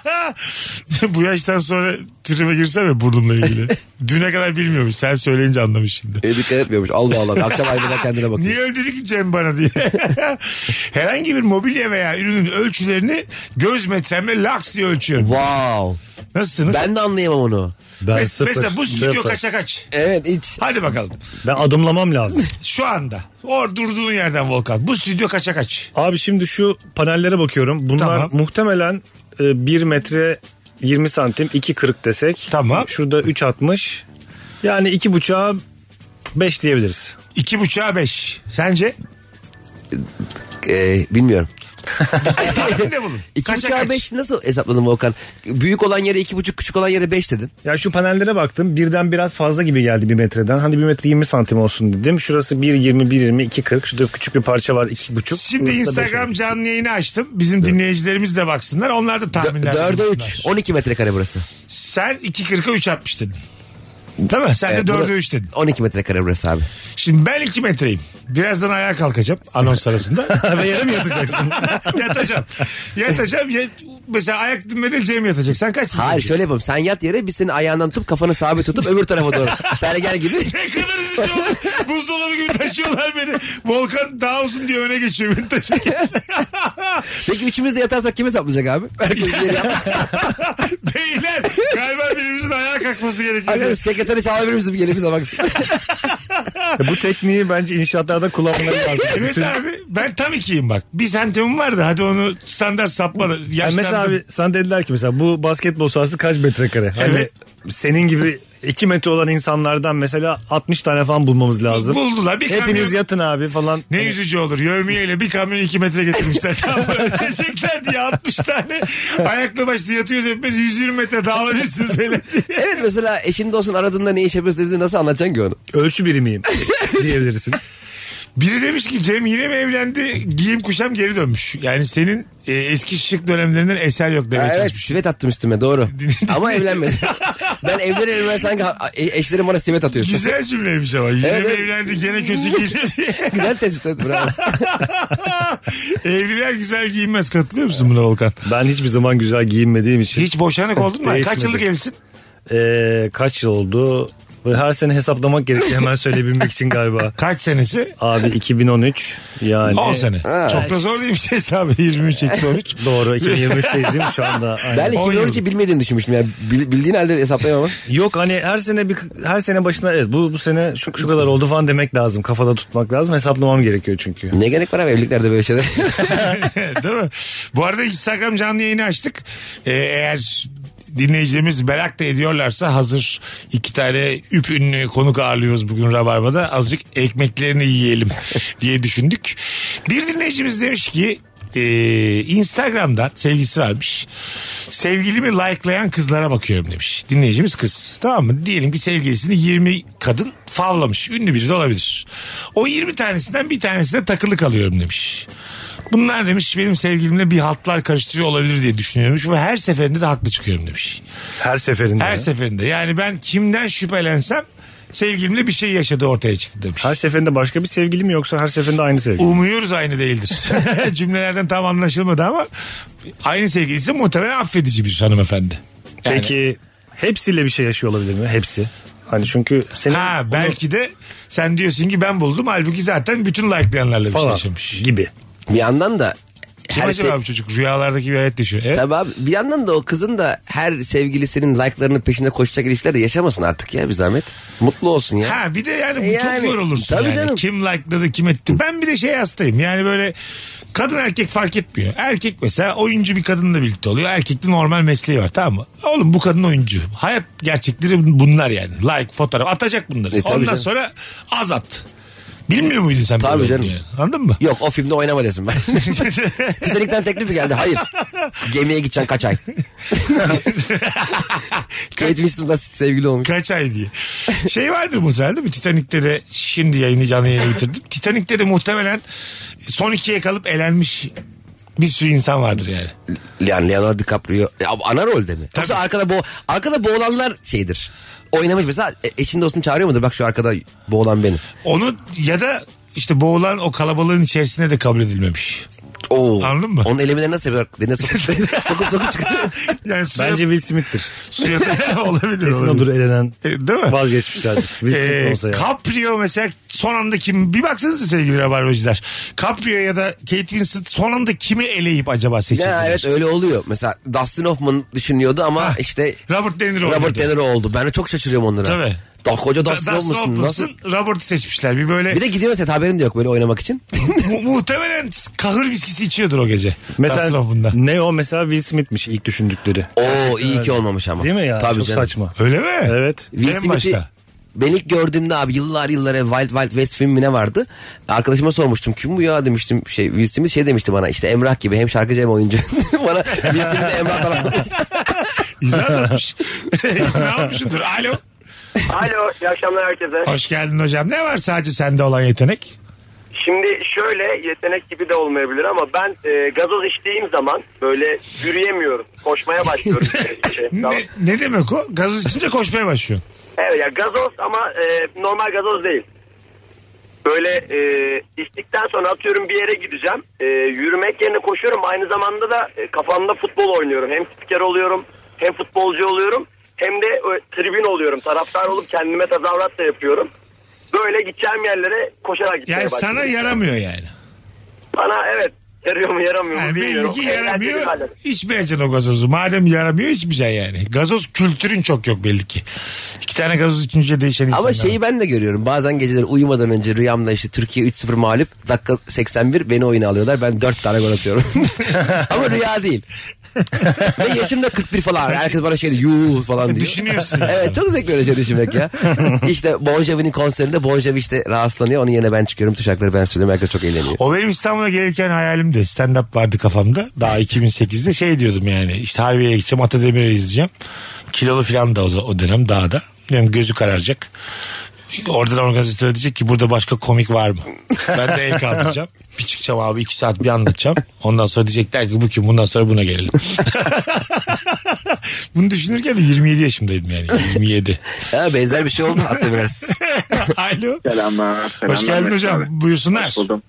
bu yaştan sonra tribe girsem ya burnumla ilgili. Düne kadar bilmiyormuş. Sen söyleyince anlamış şimdi.
E, dikkat etmiyormuş. Allah Allah. Akşam aynada kendine bakıyor.
Ah, Niye öyle dedi ki Cem bana diye. Herhangi bir mobilya veya ürünün ölçülerini göz metremle laks diye ölçüyorum.
Wow.
Nasılsınız?
Ben de anlayamam onu.
Ben
Mes-
sıfır.
mesela bu stüdyo
Sıfır.
kaça kaç.
Evet hiç.
Hadi bakalım.
Ben adımlamam lazım.
Şu anda. Or durduğun yerden Volkan. Bu stüdyo kaça kaç.
Abi şimdi şu panellere bakıyorum. Bunlar
Tamam.
muhtemelen 1 metre 20 santim 2.40 desek.
Tamam.
Şurada 3.60. Yani 2.5'a 5 diyebiliriz.
İki buçuğa beş. Sence?
Ee, bilmiyorum.
ne bunun?
İki
Kaça
buçuğa
kaç?
beş nasıl hesapladın Volkan? Büyük olan yere iki buçuk küçük olan yere beş dedin.
Ya şu panellere baktım. Birden biraz fazla gibi geldi bir metreden. Hadi bir metre 20 santim olsun dedim. Şurası 1.20, 1.20, 2.40. Şurada küçük bir parça var 2.5.
Şimdi Instagram canlı yayını açtım. Bizim dinleyicilerimiz de baksınlar. Onlar da tahminler.
Dörde
yapsınlar.
üç. On iki metrekare burası.
Sen 2.40'a 3.60 dedin. Değil mi? Sen
Evet,
de 4'e
bura-
3 dedin.
On iki metrekare burası abi.
Şimdi ben 2 metreyim. Birazdan ayağa kalkacağım anons arasında.
Ve yere mi yatacaksın?
yatacağım. Yatacağım. Ya- mesela ayak dinmede Cem yatacak. Sen kaçsın?
Hayır şöyle yapalım. Sen yat yere biz senin ayağından tutup kafanı sabit tutup öbür tarafa doğru. Pergel gibi.
Ne kadar üzücü olur. Buzdolabı gibi taşıyorlar beni. Volkan daha uzun diye öne geçiyor beni taşırken.
Peki üçümüz de yatarsak kim hesaplayacak abi? Herkes yeri yapmışsa.
Beyler galiba birimizin ayağa kalkması gerekiyor.
Arkadaş sekreteri çağırabilir misin? Gelip bize baksın.
Bu tekniği bence inşaatlarda kullanmaları lazım.
Evet
Bütün-
abi ben tam ikiyim bak. Bir santimim var da hadi onu standart sapma. da.
Yani mesela
Yaşlandım.
abi sana dediler ki mesela bu basketbol sahası kaç metrekare? Hani
Evet.
senin gibi 2 metre olan insanlardan mesela 60 tane falan bulmamız lazım.
Buldular bir kamyon.
Hepiniz yatın abi falan. Hani
Ne yüzücü olur. Yövmiyeyle bir kamyon iki metre getirmişler. Tam ölçecekler diye 60 tane. Ayaklı başlı yatıyoruz hepimiz 120 metre dağılabilirsiniz böyle diye.
evet mesela eşin dostun aradığında ne iş yapıyorsun dediğinde nasıl anlatacaksın ki onu?
Ölçü birimiyim diyebilirsin.
Biri demiş ki Cem yine mi evlendi? Giyim kuşam geri dönmüş. Yani senin e, eski şık dönemlerinden eser yok demeye
Ha, evet
çalışmış.
sivet attım üstüme doğru. Ama evlenmedim. ben evden evlenmeden sanki ha- e- eşlerim bana sivet atıyor.
Güzel cümleymiş ama. Yine
Evet,
mi
evet.
evlendi gene kötü giyiniyor diye.
Güzel tespit et bravo.
Evliler güzel giyinmez. Katılıyor musun buna Volkan?
Ben hiçbir zaman güzel giyinmediğim için.
Hiç boşanık oldun mu? Kaç
Değişmedi.
yıllık evlisin?
Ee, kaç yıl oldu? Böyle her sene hesaplamak gerekiyor hemen söyleyebilmek için galiba.
Kaç senesi?
Abi 2013 yani.
10 sene. Çok da zor değilmiş hesabı 23 eksi 13.
Doğru 2023'teyiz değil mi şu anda? Aynen.
Ben
On
2013'ü bilmediğini düşünmüştüm. Yani Bil- bildiğin halde hesaplayamam.
Yok hani her sene bir her sene başına evet bu bu sene şu, şu kadar oldu falan demek lazım. Kafada tutmak lazım. Hesaplamam gerekiyor çünkü.
ne gerek var abi evliliklerde böyle şeyler.
Değil mi? Bu arada Instagram canlı yayını açtık. Ee, eğer dinleyicilerimiz merak da ediyorlarsa hazır iki tane üp ünlü konuk ağırlıyoruz bugün Rabarba'da. Azıcık ekmeklerini yiyelim diye düşündük. Bir dinleyicimiz demiş ki e, Instagram'dan sevgilisi varmış. Sevgilimi likelayan kızlara bakıyorum demiş. Dinleyicimiz kız. Tamam mı? Diyelim ki sevgilisini 20 kadın favlamış. Ünlü biri de olabilir. O 20 tanesinden bir tanesine takılı kalıyorum demiş. Bunlar demiş benim sevgilimle bir haltlar karıştırıyor olabilir diye düşünüyormuş ve her seferinde de haklı çıkıyorum demiş.
Her seferinde.
Her
Her,
seferinde yani ben kimden şüphelensem sevgilimle bir şey yaşadığı ortaya çıktı demiş.
seferinde başka bir sevgili mi yoksa her seferinde aynı sevgili? mi?
Umuyoruz aynı değildir. Cümlelerden tam anlaşılmadı ama aynı sevgilisi muhtemelen affedici bir hanımefendi. Yani-
Peki hepsiyle bir şey yaşıyor olabilir mi? Hepsi. Hani çünkü senin
Ha
onu-
belki de sen diyorsun ki ben buldum halbuki zaten bütün likelayanlarla bir şey
falan
yaşamış.
gibi.
bir yandan da
Kim
her şey-
acaba
se-
bu çocuk rüyalardaki bir hayat yaşıyor. E?
Tabii abi bir yandan da o kızın da her sevgilisinin like'larının peşinde koşacak ilişkiler de yaşamasın artık ya bir zahmet. Mutlu olsun ya.
Ha bir de yani bu çok
Yani,
yorulursun
tabii
yani.
canım.
Kim like'ladı kim etti. Ben bir de şey hastayım yani böyle kadın erkek fark etmiyor. Erkek mesela oyuncu bir kadınla birlikte oluyor. Erkekte normal mesleği var tamam mı? Oğlum bu kadın oyuncu. Hayat gerçekleri bunlar yani. Like fotoğraf atacak bunları.
E, tabii
Ondan
canım.
sonra az at. Bilmiyor muydun sen
Tabii
böyle
canım.
olduğunu yani? Anladın mı?
Yok o filmde oynama desin ben. Titanic'ten teklif mi geldi? Hayır. Gemiye gideceksin kaç ay? Kate Winslet'la sevgili olmuş.
Kaç ay diye. Şey vardır muhtemelen değil mi? Titanik'te de şimdi yayını canlı yayına bitirdim. Titanik'te de muhtemelen son ikiye kalıp elenmiş bir sürü insan vardır yani.
Yani Leonardo DiCaprio Ya, ana rolde mi? Yoksa arkada bo arkada boğulanlar şeydir. Oynamış mesela e, eşini dostunu çağırıyor mudur? Bak şu arkada boğulan benim.
Onu ya da işte boğulan o kalabalığın içerisine de kabul edilmemiş.
Oo.
Anladın mı?
Onun elemeleri nasıl yapıyor? Denize sokup sokup, sokup çıkıyor.
Yani suya,
Bence Will Smith'tir.
suya olabilir. olabilir.
Kesin odur elenen.
E, Değil mi?
Vazgeçmişlerdir. Will Smith
Ee,
olsa ya.
Caprio mesela son anda kim bir baksanıza sevgili rabarbacılar. Caprio ya da Kate Winslet son anda kimi eleyip acaba
ya
seçildiler?
evet öyle oluyor. Mesela Dustin Hoffman düşünüyordu ama
Ha.
işte
Robert De Niro
Robert
oynuyordu.
De Niro oldu. Ben de çok şaşırıyorum onlara.
Tabii.
Da, koca
Da-
Dustin Hoffman'sın. Nasıl?
Hoffman'sın, Robert'ı seçmişler. Bir böyle
Bir de gidiyor mesela haberin de yok böyle oynamak için.
mu- muhtemelen kahır viskisi içiyordur o gece. Dustin
Mesela
Hoffman'da.
ne o mesela Will Smith'miş ilk düşündükleri.
Oo iyi ki olmamış ama.
Değil mi ya?
Tabii
Çok
canım.
saçma.
Öyle mi?
Evet.
Will
En
Smith'i
başta.
ben ilk gördüğümde abi yıllar yıllar evvel Wild Wild West filmine vardı. Arkadaşıma sormuştum kim bu ya demiştim. Şey, Will Smith şey demişti bana işte Emrah gibi hem şarkıcı hem oyuncu. bana Will Smith de Emrah falan.
İzler olmuş. İzler olmuşsundur. Alo.
Alo iyi akşamlar herkese.
Hoş geldin hocam. Ne var sadece sende olan yetenek?
Şimdi şöyle yetenek gibi de olmayabilir ama ben e, gazoz içtiğim zaman böyle yürüyemiyorum. Koşmaya başlıyorum. Şey, tamam.
Ne, ne demek o? Gazoz içince koşmaya başlıyorsun.
Evet ya gazoz ama e, normal gazoz değil. Böyle e, içtikten sonra atıyorum bir yere gideceğim. E, yürümek yerine koşuyorum. Aynı zamanda da e, kafamda futbol oynuyorum. Hem spiker oluyorum hem futbolcu oluyorum. Hem de e, tribün oluyorum. Taraftar olup kendime tazavrat da yapıyorum. Böyle gideceğim yerlere koşarak gitmeye
Yani
başlıyorum.
sana yaramıyor yani.
Bana evet yarıyor mu yaramıyor mu
yani belli
bilmiyorum.
ki
Eğlenceli
yaramıyor.
halleder.
İçmeyeceksin o gazozu. Madem yaramıyor içmeyeceksin yani. Gazoz kültürün çok yok belli ki. İki tane gazoz içince değişen insanlar.
Ama şey şeyi ben de görüyorum. Bazen geceleri uyumadan önce rüyamda işte Türkiye 3-0 mağlup. Dakika 81 beni oyuna alıyorlar. Ben 4 tane gol atıyorum. Ama rüya değil. Ve yaşım da 41 falan. Herkes bana şey diyor yuh falan diyor.
Düşünüyorsun yani.
evet çok zevkli öyle şey düşünmek ya. işte Bon Jovi'nin konserinde Bon Jovi işte rahatsızlanıyor. Onun yerine ben çıkıyorum. Tuşakları ben söylüyorum. Herkes çok eğleniyor.
O benim İstanbul'a gelirken hayalimdi. Stand-up vardı kafamda. Daha 2008'de şey diyordum yani. İşte Harbiye'ye gideceğim, Atademir'e izleyeceğim. Kilolu falan da o, o dönem daha da. Diyorum gözü kararacak. Oradan organizatör diyecek ki burada başka komik var mı? Ben de el kaldıracağım. Bir çıkacağım abi iki saat bir anlatacağım. Ondan sonra diyecekler ki bu kim bundan sonra buna gelelim. Bunu düşünürken de 27 yaşımdaydım yani 27.
Ha, benzer bir şey oldu hatta biraz.
Alo.
Selamlar.
Hoş
selamlar
geldin
Mesut
hocam.
abi.
Buyursunlar.
Hoş buldum.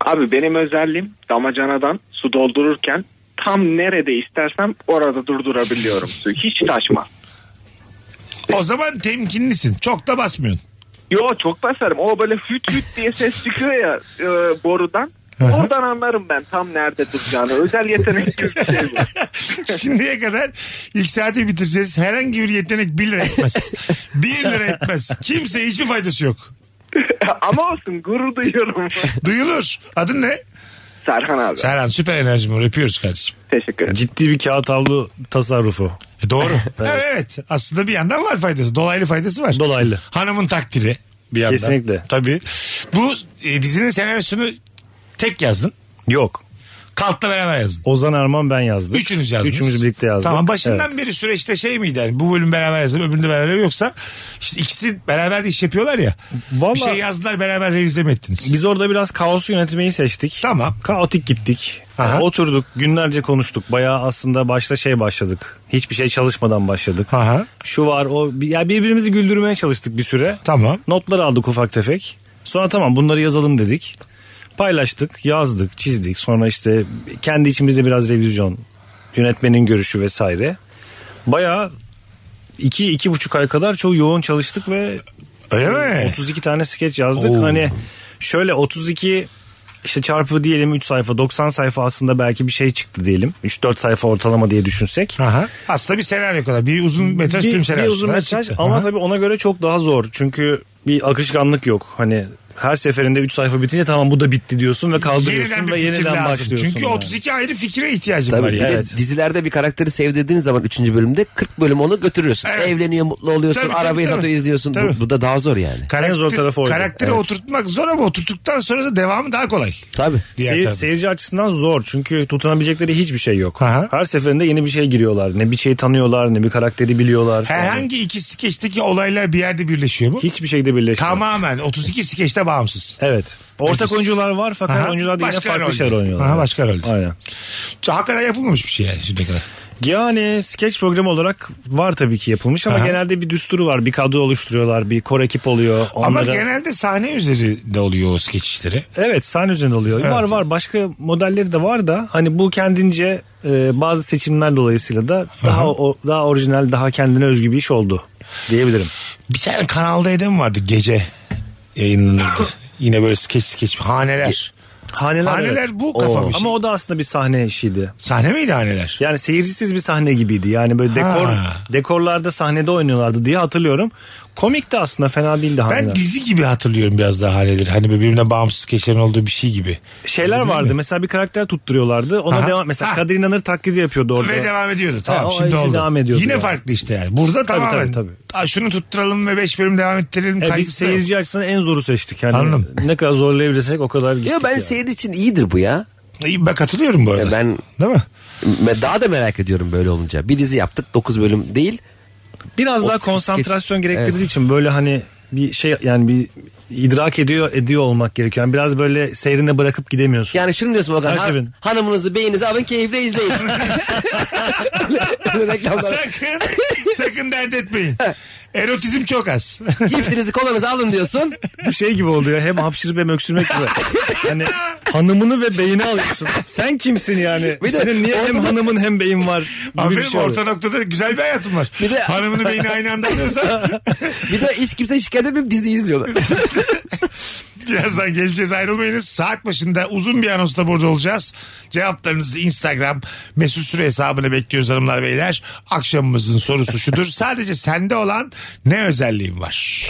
Abi benim özelliğim damacanadan su doldururken tam nerede istersem orada durdurabiliyorum suyu. Hiç taşmaz.
O zaman temkinlisin. Çok da basmıyorsun.
Yo çok basarım. O böyle füt füt diye ses çıkıyor ya e, borudan. Oradan anlarım ben tam nerede duracağını. Özel yetenek gibi bir şey bu.
Şimdiye kadar ilk saati bitireceğiz. Herhangi bir yetenek 1 lira etmez. 1 lira etmez. Kimseye hiçbir faydası yok.
Ama olsun gurur duyuyorum.
Duyulur. Adın ne?
Serhan abi.
Serhan süper enerjim var. Öpüyoruz kardeşim.
Teşekkür ederim.
Ciddi bir kağıt havlu tasarrufu.
E doğru. evet. evet. Aslında bir yandan var faydası. Dolaylı faydası var.
Dolaylı.
Hanımın takdiri bir yandan.
Kesinlikle.
Tabii. Bu e, dizinin senaryosunu tek yazdın.
Yok.
Kalk'la beraber yazdın.
Ozan Erman ben yazdım.
Üçünüz yazdınız.
Üçümüz birlikte yazdık.
Tamam başından
Evet.
beri süreçte şey miydi yani bu bölüm beraber yazdım öbüründe beraber yoksa işte ikisi beraber de iş yapıyorlar ya.
Vallahi-
Bir şey yazdılar beraber revize mi ettiniz?
Biz orada biraz kaosu yönetmeyi seçtik.
Tamam.
Kaotik gittik.
Aha.
Oturduk günlerce konuştuk. Bayağı aslında başta şey başladık. Hiçbir şey çalışmadan başladık.
Aha.
Şu var o ya birbirimizi güldürmeye çalıştık bir süre.
Tamam.
Notları aldık ufak tefek. Sonra tamam bunları yazalım dedik. Paylaştık, yazdık, çizdik. Sonra işte kendi içimizde biraz revizyon, yönetmenin görüşü vesaire. Bayağı iki, iki buçuk ay kadar çok yoğun çalıştık ve
Öyle mi?
32 tane skeç yazdık.
Eh. Oo.
Hani şöyle 32 işte çarpı diyelim 3 sayfa 90 sayfa aslında belki bir şey çıktı diyelim. 3-4 sayfa ortalama diye düşünsek.
Aha. Aslında bir senaryo kadar. Bir uzun metraj
bir,
film
bir
senaryosu.
uzun
kadar
metraj
çıktı.
ama
Aha.
tabii ona göre çok daha zor. Çünkü bir akışkanlık yok. Hani her seferinde 3 sayfa bitince tamam bu da bitti diyorsun ve kaldırıyorsun
Yeniden bir
ve
fikir
yeniden
lazım.
başlıyorsun.
Çünkü
yani.
32 ayrı fikre ihtiyacım
Tabii
var
bir
yani.
de
evet.
dizilerde bir karakteri sevdirdiğin zaman 3. bölümde 40 bölüm onu götürüyorsun.
Evet.
Evleniyor, mutlu oluyorsun,
Tabii, tabii,
arabayı
tabii.
satıyor, izliyorsun.
Tabii.
Bu, bu da daha zor yani.
Karakter,
En zor tarafı oydu.
Karakteri
Evet.
oturtmak zor ama oturttuktan sonra da devamı daha kolay.
Tabii.
Diğer
Seyir-
tabii.
seyirci açısından zor çünkü tutunabilecekleri hiçbir şey yok.
Aha.
Her seferinde yeni bir şey giriyorlar. Ne bir şey tanıyorlar ne bir karakteri biliyorlar.
Herhangi iki skeçteki olaylar bir şey- yerde birleşiyor mu?
Hiçbir şeyde birleşmiyor.
Tamamen 32 skeçte bağımsız.
Evet. Ortak
Peki.
oyuncular var fakat
Aha.
oyuncular da yine
Başka
farklı
rolde.
şeyler oynuyorlar.
Aha,
Evet.
başka rolde.
Aynen.
Hakikaten yapılmamış bir şey yani şimdiye kadar.
Yani skeç programı olarak var tabii ki yapılmış ama
Aha.
genelde bir düsturu var. Bir kadro oluşturuyorlar. Bir kor ekip oluyor. Onlara...
Ama genelde sahne üzerinde oluyor o skeç işleri.
Evet sahne üzerinde oluyor.
Evet.
Var var başka modelleri de var da hani bu kendince e, bazı seçimler dolayısıyla da daha o, daha orijinal daha kendine özgü bir iş oldu diyebilirim.
Bir tane kanalda edem vardı gece yayınlanırdı. Yine böyle skeç skeç haneler.
Haneler,
Haneler
evet.
bu kafa bir şey.
Ama o da aslında bir sahne işiydi.
Sahne miydi haneler?
Yani seyircisiz bir sahne gibiydi. Yani böyle dekor
Ha.
dekorlarda sahnede oynuyorlardı diye hatırlıyorum. Komik de aslında fena değildi
Ben
haneler.
dizi gibi hatırlıyorum biraz daha haneleri. Hani birbirine bağımsız skeçlerin olduğu bir şey gibi.
Şeyler
Dizi değil
vardı.
mi?
Mesela bir karakter tutturuyorlardı. Ona
Aha.
devam mesela
Ha.
Kadir İnanır taklidi yapıyordu orada.
Ve devam ediyordu. Tamam
o
şimdi
işi
oldu.
devam ediyordu
Yine
yani.
farklı işte yani. Burada
Tabii,
tamamen
tabii, tabii.
"Aa, şunu tutturalım ve 5 bölüm devam ettirelim.
E, biz
kaygısı da yok.
seyirci açısından en zoru seçtik. Yani
Anladım.
ne kadar zorlayabilirsek o kadar gittik.
Ya ben
yani.
seyir için iyidir bu ya.
İyi, Ben katılıyorum bu arada.
E, ben-
Değil mi?
Me- Daha da merak ediyorum böyle olunca. Bir dizi yaptık 9 bölüm değil.
Biraz daha
O-
konsantrasyon
geç-
gerektirdiği
Evet.
için böyle hani bir şey yani bir idrak ediyor ediyor olmak gerekiyor. Yani biraz böyle seyrinde bırakıp gidemiyorsun.
Yani şunu diyorsun Okan.
Her
ha-
seferinde.
hanımınızı beyinizi alın keyifle izleyin. Öyle reklamlar.
Sakın, sakın dert etmeyin. Erotizm çok az.
Cipsinizi kolanızı alın diyorsun.
Bu şey gibi oluyor. Hem hapşırıp hem öksürmek gibi. hani hanımını ve beyni alıyorsun. Sen kimsin yani?
Bir de
Senin niye hem
ortada-
hanımın hem beyin var? Gibi bir
Aferin
şey oluyor.
orta noktada güzel bir hayatım var.
Bir de-
Hanımını beyni aynı anda alıyorsa
Bir de hiç kimse şikayet etmeyip dizi izliyorlar.
birazdan geleceğiz ayrılmayınız. Saat başında uzun bir anosta burada olacağız. Cevaplarınızı Instagram mesut süre hesabını bekliyoruz hanımlar beyler. Akşamımızın sorusu şudur. Sadece sende olan ne özelliğin var?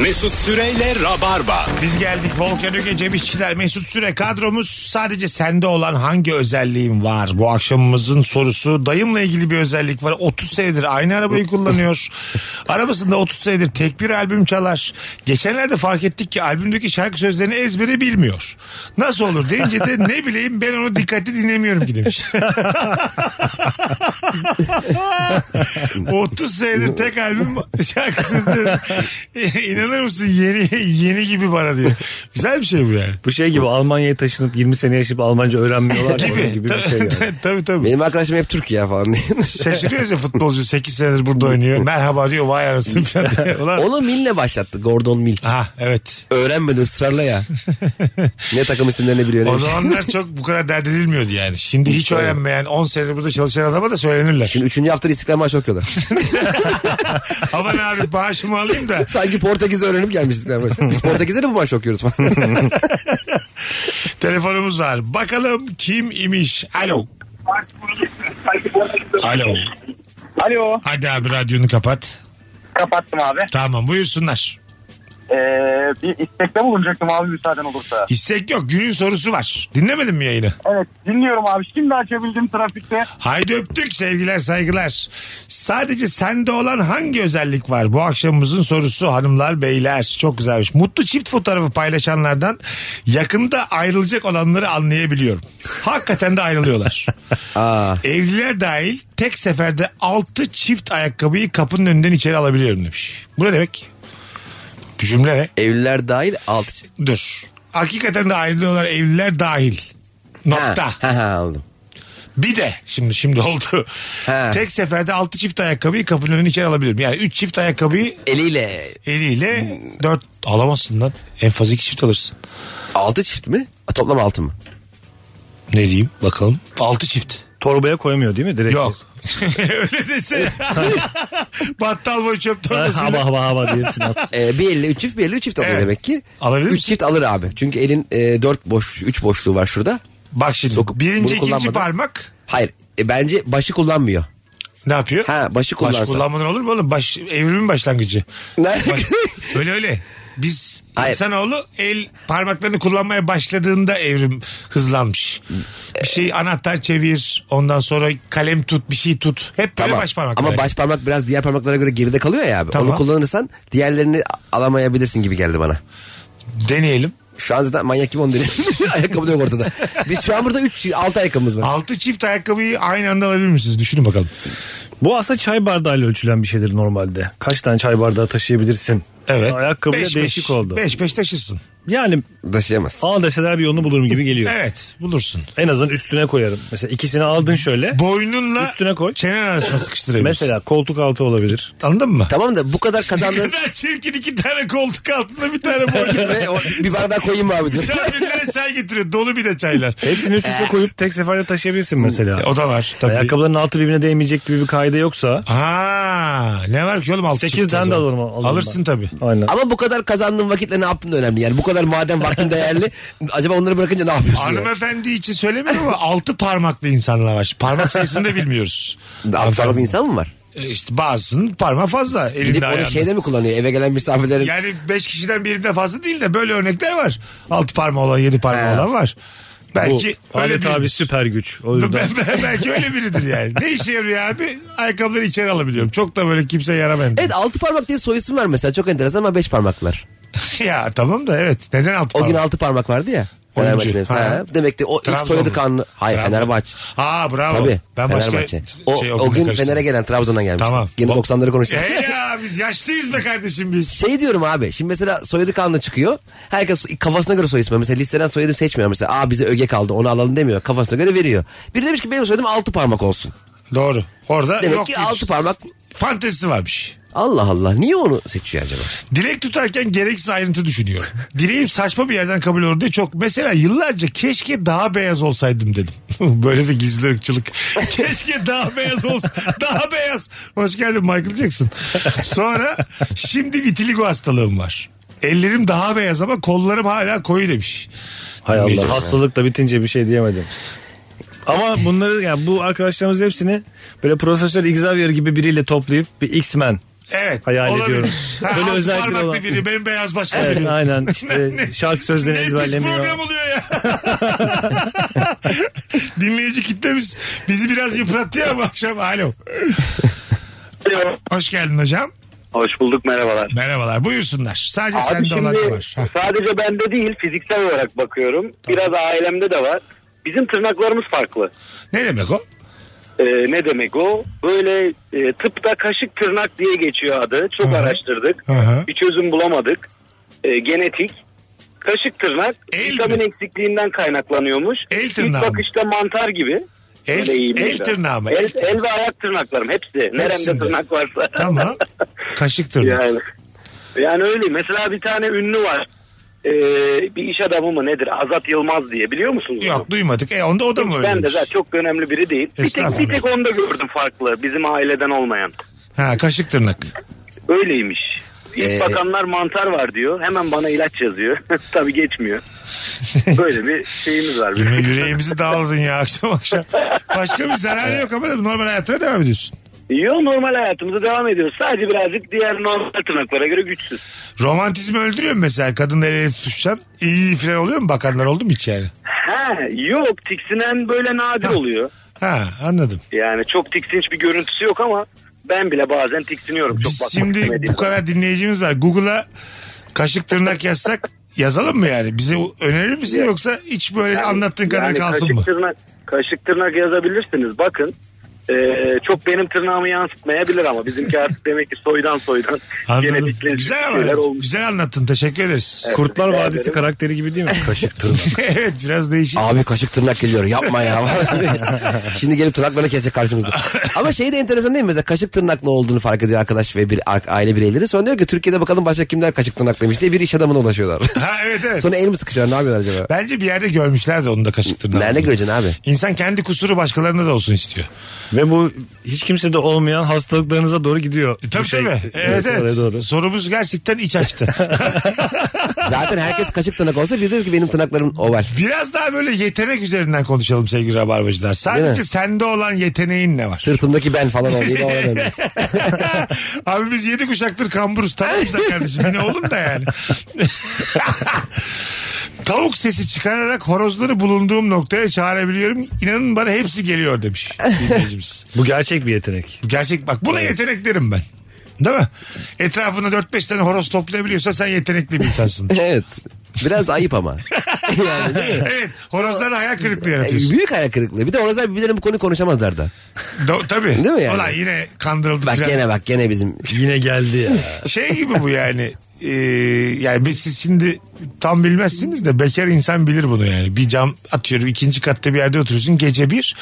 Mesut Süreyle Rabarba.
Biz geldik Volkan Öge, Cem İşçiler, Mesut Süre kadromuz. Sadece sende olan hangi özelliğin var? Bu akşamımızın sorusu. Dayımla ilgili bir özellik var. 30 senedir aynı arabayı kullanıyor. Arabasında 30 senedir tek bir albüm çalar. Geçenlerde fark ettik ki albümdeki şarkı sözlerini ezbere bilmiyor. Nasıl olur deyince de ne bileyim ben onu dikkatli dinlemiyorum ki demiş. 30 senedir tek albüm şarkı sözleri İnanır mısın yeni yeni gibi bana diyor. Güzel bir şey bu yani.
Bu şey gibi Almanya'ya taşınıp 20 sene yaşayıp Almanca öğrenmiyorlar ya, onun gibi bir şey yani.
tabii tabii.
Benim arkadaşım hep Türk ya falan diye.
Şaşırıyoruz ya futbolcu 8 senedir burada oynuyor. Merhaba diyor vay anasını falan. diyor. Ulan-
Onu Mill'le başlattı. Gordon Mill.
Ha evet.
Öğrenmedi ısrarla ya. ne takım isimlerini biliyor. ne
O
bir şey.
zamanlar çok bu kadar dert edilmiyordu yani. Şimdi hiç öğrenmeyen 10 senedir burada çalışan adama da söylenirler.
Şimdi üçüncü hafta İstiklal Marşı okuyorlar.
Aman abi bağışımı alayım da.
Sanki Portekiz öğrenip gelmiş İstiklal Marşı. Biz Portekiz'e de bu marşı okuyoruz falan.
Telefonumuz var. Bakalım kim imiş? Alo. Alo.
Alo.
Hadi abi radyonu kapat.
Kapattım abi.
Tamam buyursunlar.
Ee, bir istekte bulunacaktım abi müsaaden olursa.
İstek yok. Günün sorusu var. Dinlemedin mi yayını?
Evet dinliyorum abi. Şimdi açabildim trafikte.
Haydi öptük sevgiler saygılar. Sadece sende olan hangi özellik var? Bu akşamımızın sorusu hanımlar beyler. Çok güzelmiş. Mutlu çift fotoğrafı paylaşanlardan yakında ayrılacak olanları anlayabiliyorum. Hakikaten de ayrılıyorlar.
Aa,
Evliler dahil tek seferde 6 çift ayakkabıyı kapının önünden içeri alabiliyorum demiş. Bu ne demek? Bu cümle ne?
evliler dahil altı.
Dur. Hakikaten de ayrılıyorlar evliler dahil. Nokta.
Ha, ha, ha, aldım.
Bir de şimdi şimdi oldu.
He.
Tek seferde 6 çift ayakkabıyı kapının önüne içeri alabilirim. Yani 3 çift ayakkabıyı
Eliyle.
eliyle 4 alamazsın lan. En fazla 2 çift alırsın.
Altı çift mi? A, Toplam altı mı?
Ne diyeyim bakalım. 6 çift.
Torbaya koymuyor değil mi direkt?
Yok. Öyle dese. Battal boy çöp
hava
torbasıyla.
hava hava diye hepsini at.
Ee, bir elle üç çift bir elle üç çift alıyor
Evet.
demek ki.
Alabilir
üç
misin?
çift alır abi. Çünkü elin e, dört boş, üç boşluğu var şurada.
Bak şimdi
Sokup bunu
birinci ikinci
kullanmadan-
parmak
Hayır e, bence başı kullanmıyor.
ne yapıyor?
Ha, başı
Baş
kullansa.
kullanmadan olur mu oğlum? Baş, evrimin başlangıcı.
Ne?
Baş- öyle öyle. Biz
Hayır.
insanoğlu el parmaklarını kullanmaya başladığında evrim hızlanmış. Bir şey anahtar çevir, ondan sonra kalem tut, bir şey tut. Hep böyle
Tamam.
baş parmak.
Ama
hareket.
baş parmak biraz diğer parmaklara göre geride kalıyor ya abi.
Tamam.
Onu kullanırsan diğerlerini alamayabilirsin gibi geldi bana.
Deneyelim.
Şu an zaten manyak gibi onu deniyor. Ayakkabı da yok ortada. Biz şu an burada 3 6 ayakkabımız var.
Altı çift ayakkabıyı aynı anda alabilir misiniz? Düşünün bakalım.
Bu aslında çay bardağıyla ölçülen bir şeydir normalde. Kaç tane çay bardağı taşıyabilirsin?
Evet.
Ayakkabı da
Beş,
değişik
beş.
oldu.
Beş beş taşırsın.
Yani
Taşıyamaz.
al deseler bir yolunu bulurum gibi geliyor.
Evet bulursun.
En azından üstüne koyarım. Mesela ikisini aldın şöyle.
Boynunla
Üstüne koy.
çenen arasına sıkıştırabilirsin.
Mesela koltuk altı olabilir.
Anladın mı?
Tamam da bu kadar
Ne
kazandığın
kadar çirkin iki tane koltuk altında bir tane boynunla.
ve o- bir bardak koyayım mı abi diyor.
Misafirlere çay getiriyor. Dolu bir de çaylar. E,
Hepsini üst üste koyup tek seferde taşıyabilirsin mesela.
Ee. O da var tabii.
Ayakkabıların altı birbirine değmeyecek gibi bir kaide yoksa.
Ha, ne var ki oğlum altı
Sekiz
çift
tane de
o
alırım.
zaman.
alırım
Alırsın
ben.
tabii.
Aynen.
Ama bu kadar kazandığın vakitle ne yaptın da önemli. Yani bu kadar madem vaktin değerli acaba onları bırakınca ne yapıyorsun? yani?
Hanımefendi için söylemiyorum ama altı parmaklı insanlar var. Parmak sayısını da bilmiyoruz.
Altı parmaklı insan mı var?
E, İşte bazısının parmağı fazla. Elinde
Gidip onu
ayağında.
şeyde mi kullanıyor? Eve gelen misafirlerin
Yani beş kişiden birinde fazla değil de böyle örnekler var. Altı parmağı olan, yedi parmağı olan var.
Bu
Belki öyle
Halit abi
biridir.
süper güç. O yüzden.
Belki öyle biridir yani. Ne işe yarıyor abi? Ayakkabıları içeri alabiliyorum. Çok da böyle kimseye yaramayan.
Evet altı parmak diye soy isim var mesela çok enteresan ama beş parmaklar.
ya tamam da evet. Neden altı
O
parmak?
gün altı parmak vardı ya.
Oyuncu.
Fenerbahçe'nin hepsi.
Ha.
Ha. Demek ki o ilk
Trabzon mu?
soyadı kanunu. Hayır
Bravo.
Fenerbahçe.
Ha bravo.
Tabii.
Ben başka
Fenerbahçe.
şey
o, o
okudum,
gün
karıştırdım.
Fener'e gelen Trabzon'dan gelmişti.
Tamam. Ee?
Yine
O-
90'ları konuştuk.
Hey ya biz yaşlıyız be kardeşim biz.
şey diyorum abi şimdi mesela soyadı kanunu çıkıyor. Herkes kafasına göre soy ismi. Mesela listeden soyadı seçmiyor. Mesela aa bize öge kaldı onu alalım demiyor. Kafasına göre veriyor. Biri demiş ki benim soyadım altı parmak olsun.
Doğru. Orada
Demek
yok
ki
demiş.
altı parmak
Fantezisi varmış.
Allah Allah niye onu seçiyor acaba?
Dilek tutarken gereksiz ayrıntı düşünüyorum. Dileğim saçma bir yerden kabul olur diye çok. Mesela yıllarca keşke daha beyaz olsaydım dedim. Böyle de gizli ırkçılık. keşke daha beyaz olsa. Daha beyaz. Hoş geldin Michael Jackson. Sonra şimdi vitiligo hastalığım var. Ellerim daha beyaz ama kollarım hala koyu demiş.
Hay Allah. Hastalık da bitince bir şey diyemedim. Ama bunları yani bu arkadaşlarımız hepsini böyle Profesör Xavier gibi biriyle toplayıp bir X-Men
Evet.
Hayal
olabilir.
ediyorum.
Ha,
Böyle
altı
özellikleri
parmaklı
olan-
biri benim beyaz başka
Evet,
biri.
aynen. İşte şarkı sözlerini
Ne
ezberlemiyor.
pis program oluyor ya. Dinleyici kitlemiz bizi biraz yıprattı ya bu akşam. Alo. Hoş geldin hocam.
Hoş bulduk merhabalar.
Merhabalar. Buyursunlar. Sadece
Abi
sende olan ne
şimdi
var? Hah.
sadece bende değil fiziksel olarak bakıyorum. Biraz ailemde de var. Bizim tırnaklarımız farklı.
Ne demek o?
Ee, ne demek o? Böyle e, tıpta kaşık tırnak diye geçiyor adı. Çok araştırdık.
Aha.
Bir çözüm bulamadık. Ee, genetik. Kaşık tırnak vitamin eksikliğinden kaynaklanıyormuş. El
tırnağı mı?
İlk bakışta mantar gibi.
El-
Öyle iyi
el
bilmiyorum.
tırnağı mı?
El,
El tırnağı.
el ve ayak tırnaklarım hepsi.
Hepsinde.
Neremde tırnak varsa.
Tamam. Kaşık tırnak.
Yani, yani öyle. Mesela bir tane ünlü var. Ee, bir iş adamı mı nedir? Azat Yılmaz diye biliyor musunuz? onu?
Yok duymadık. E onda o da mı
Hiç
öyle?
Ben de zaten çok önemli biri değil. Bir tek, bir
Estağfurullah.
tek onda gördüm farklı. Bizim aileden olmayan.
Ha kaşık tırnak.
Öyleymiş. İlk
Ee,
bakanlar mantar var diyor. Hemen bana ilaç yazıyor. Tabii geçmiyor. Böyle bir şeyimiz var.
Yine yüreğimizi dağıldın ya akşam akşam. Başka bir zararı yok ama değil mi? normal hayatına devam ediyorsun.
Yok normal hayatımıza devam ediyoruz. Sadece birazcık diğer normal tırnaklara göre güçsüz.
Romantizmi öldürüyor mu mesela? Kadınla el ele tutuşacaksın. İyi falan oluyor mu? Bakanlar oldu mu hiç yani?
Ha yok tiksinen böyle nadir oluyor.
Ha anladım.
Yani çok tiksinç bir görüntüsü yok ama ben bile bazen tiksiniyorum. Çok bakmak
Şimdi
istemediğim
bu kadar dinleyicimiz var. Google'a kaşık tırnak yazsak yazalım mı yani? Bize önerir misin yoksa hiç böyle anlattığın kadar
Yani
kalsın
kaşık
mı?
Tırnak, kaşık tırnak yazabilirsiniz. Bakın Ee, çok benim tırnağımı yansıtmayabilir ama bizimki artık demek ki soydan soydan
Anladım.
genetikle
Güzel
şeyler
ama. Güzel anlattın. Teşekkür ederiz.
Evet, Kurtlar rica Vadisi ederim.
karakteri gibi değil mi? Kaşık tırnak. evet biraz değişik.
Abi kaşık tırnak geliyor yapma ya. Şimdi gelip tırnaklarını kesecek karşımızda. Ama şey de enteresan değil mi? Mesela kaşık tırnaklı olduğunu fark ediyor arkadaş ve bir ar- aile bireyleri. Sonra diyor ki Türkiye'de bakalım başka kimler kaşık tırnaklıymış diye bir iş adamına ulaşıyorlar.
Ha evet evet.
Sonra el mi sıkışıyor ne yapıyorlar acaba?
Bence bir yerde görmüşlerdi onu da kaşık tırnağı.
Nerede göreceksin abi?
İnsan kendi kusuru başkalarında da olsun istiyor.
Ve bu hiç kimse de olmayan hastalıklarınıza doğru gidiyor.
E, Tabii
Bu şey.
tabii. Evet
oraya
evet.
Doğru.
Sorumuz gerçekten iç açtı.
Zaten herkes kaşık tırnak olsa biz deriz ki benim tırnaklarım oval.
Biraz daha böyle yetenek üzerinden konuşalım sevgili rabarbacılar.
Değil
Sadece
mi?
sende olan yeteneğin ne var?
Sırtımdaki ben falan oldu. Yine ona döndü.
Abi biz yedi kuşaktır kamburuz tamam da kardeşim ne oğlum da yani. Tavuk sesi çıkararak horozları bulunduğum noktaya çağırabiliyorum. İnanın bana hepsi geliyor demiş. dinleyicimiz.
Bu gerçek bir yetenek.
Gerçek bak buna yetenek derim ben. Değil mi? Etrafında 4-5 tane horoz toplayabiliyorsa sen yetenekli bir insansın.
evet. Biraz da ayıp ama. Yani değil mi? E,
evet horozlara hayal kırıklığı yaratıyorsun.
Büyük hayal kırıklığı. Bir de orada birbirlerine bu konuyu konuşamazlar da.
Do- tabii.
Değil mi yani?
Ulan yine kandırıldık.
Bak
falan.
gene bak gene bizim.
Yine geldi ya.
Şey gibi bu yani. Ee, yani biz- siz şimdi tam bilmezsiniz de bekar insan bilir bunu yani. Bir cam atıyorum ikinci katta bir yerde oturuyorsun gece bir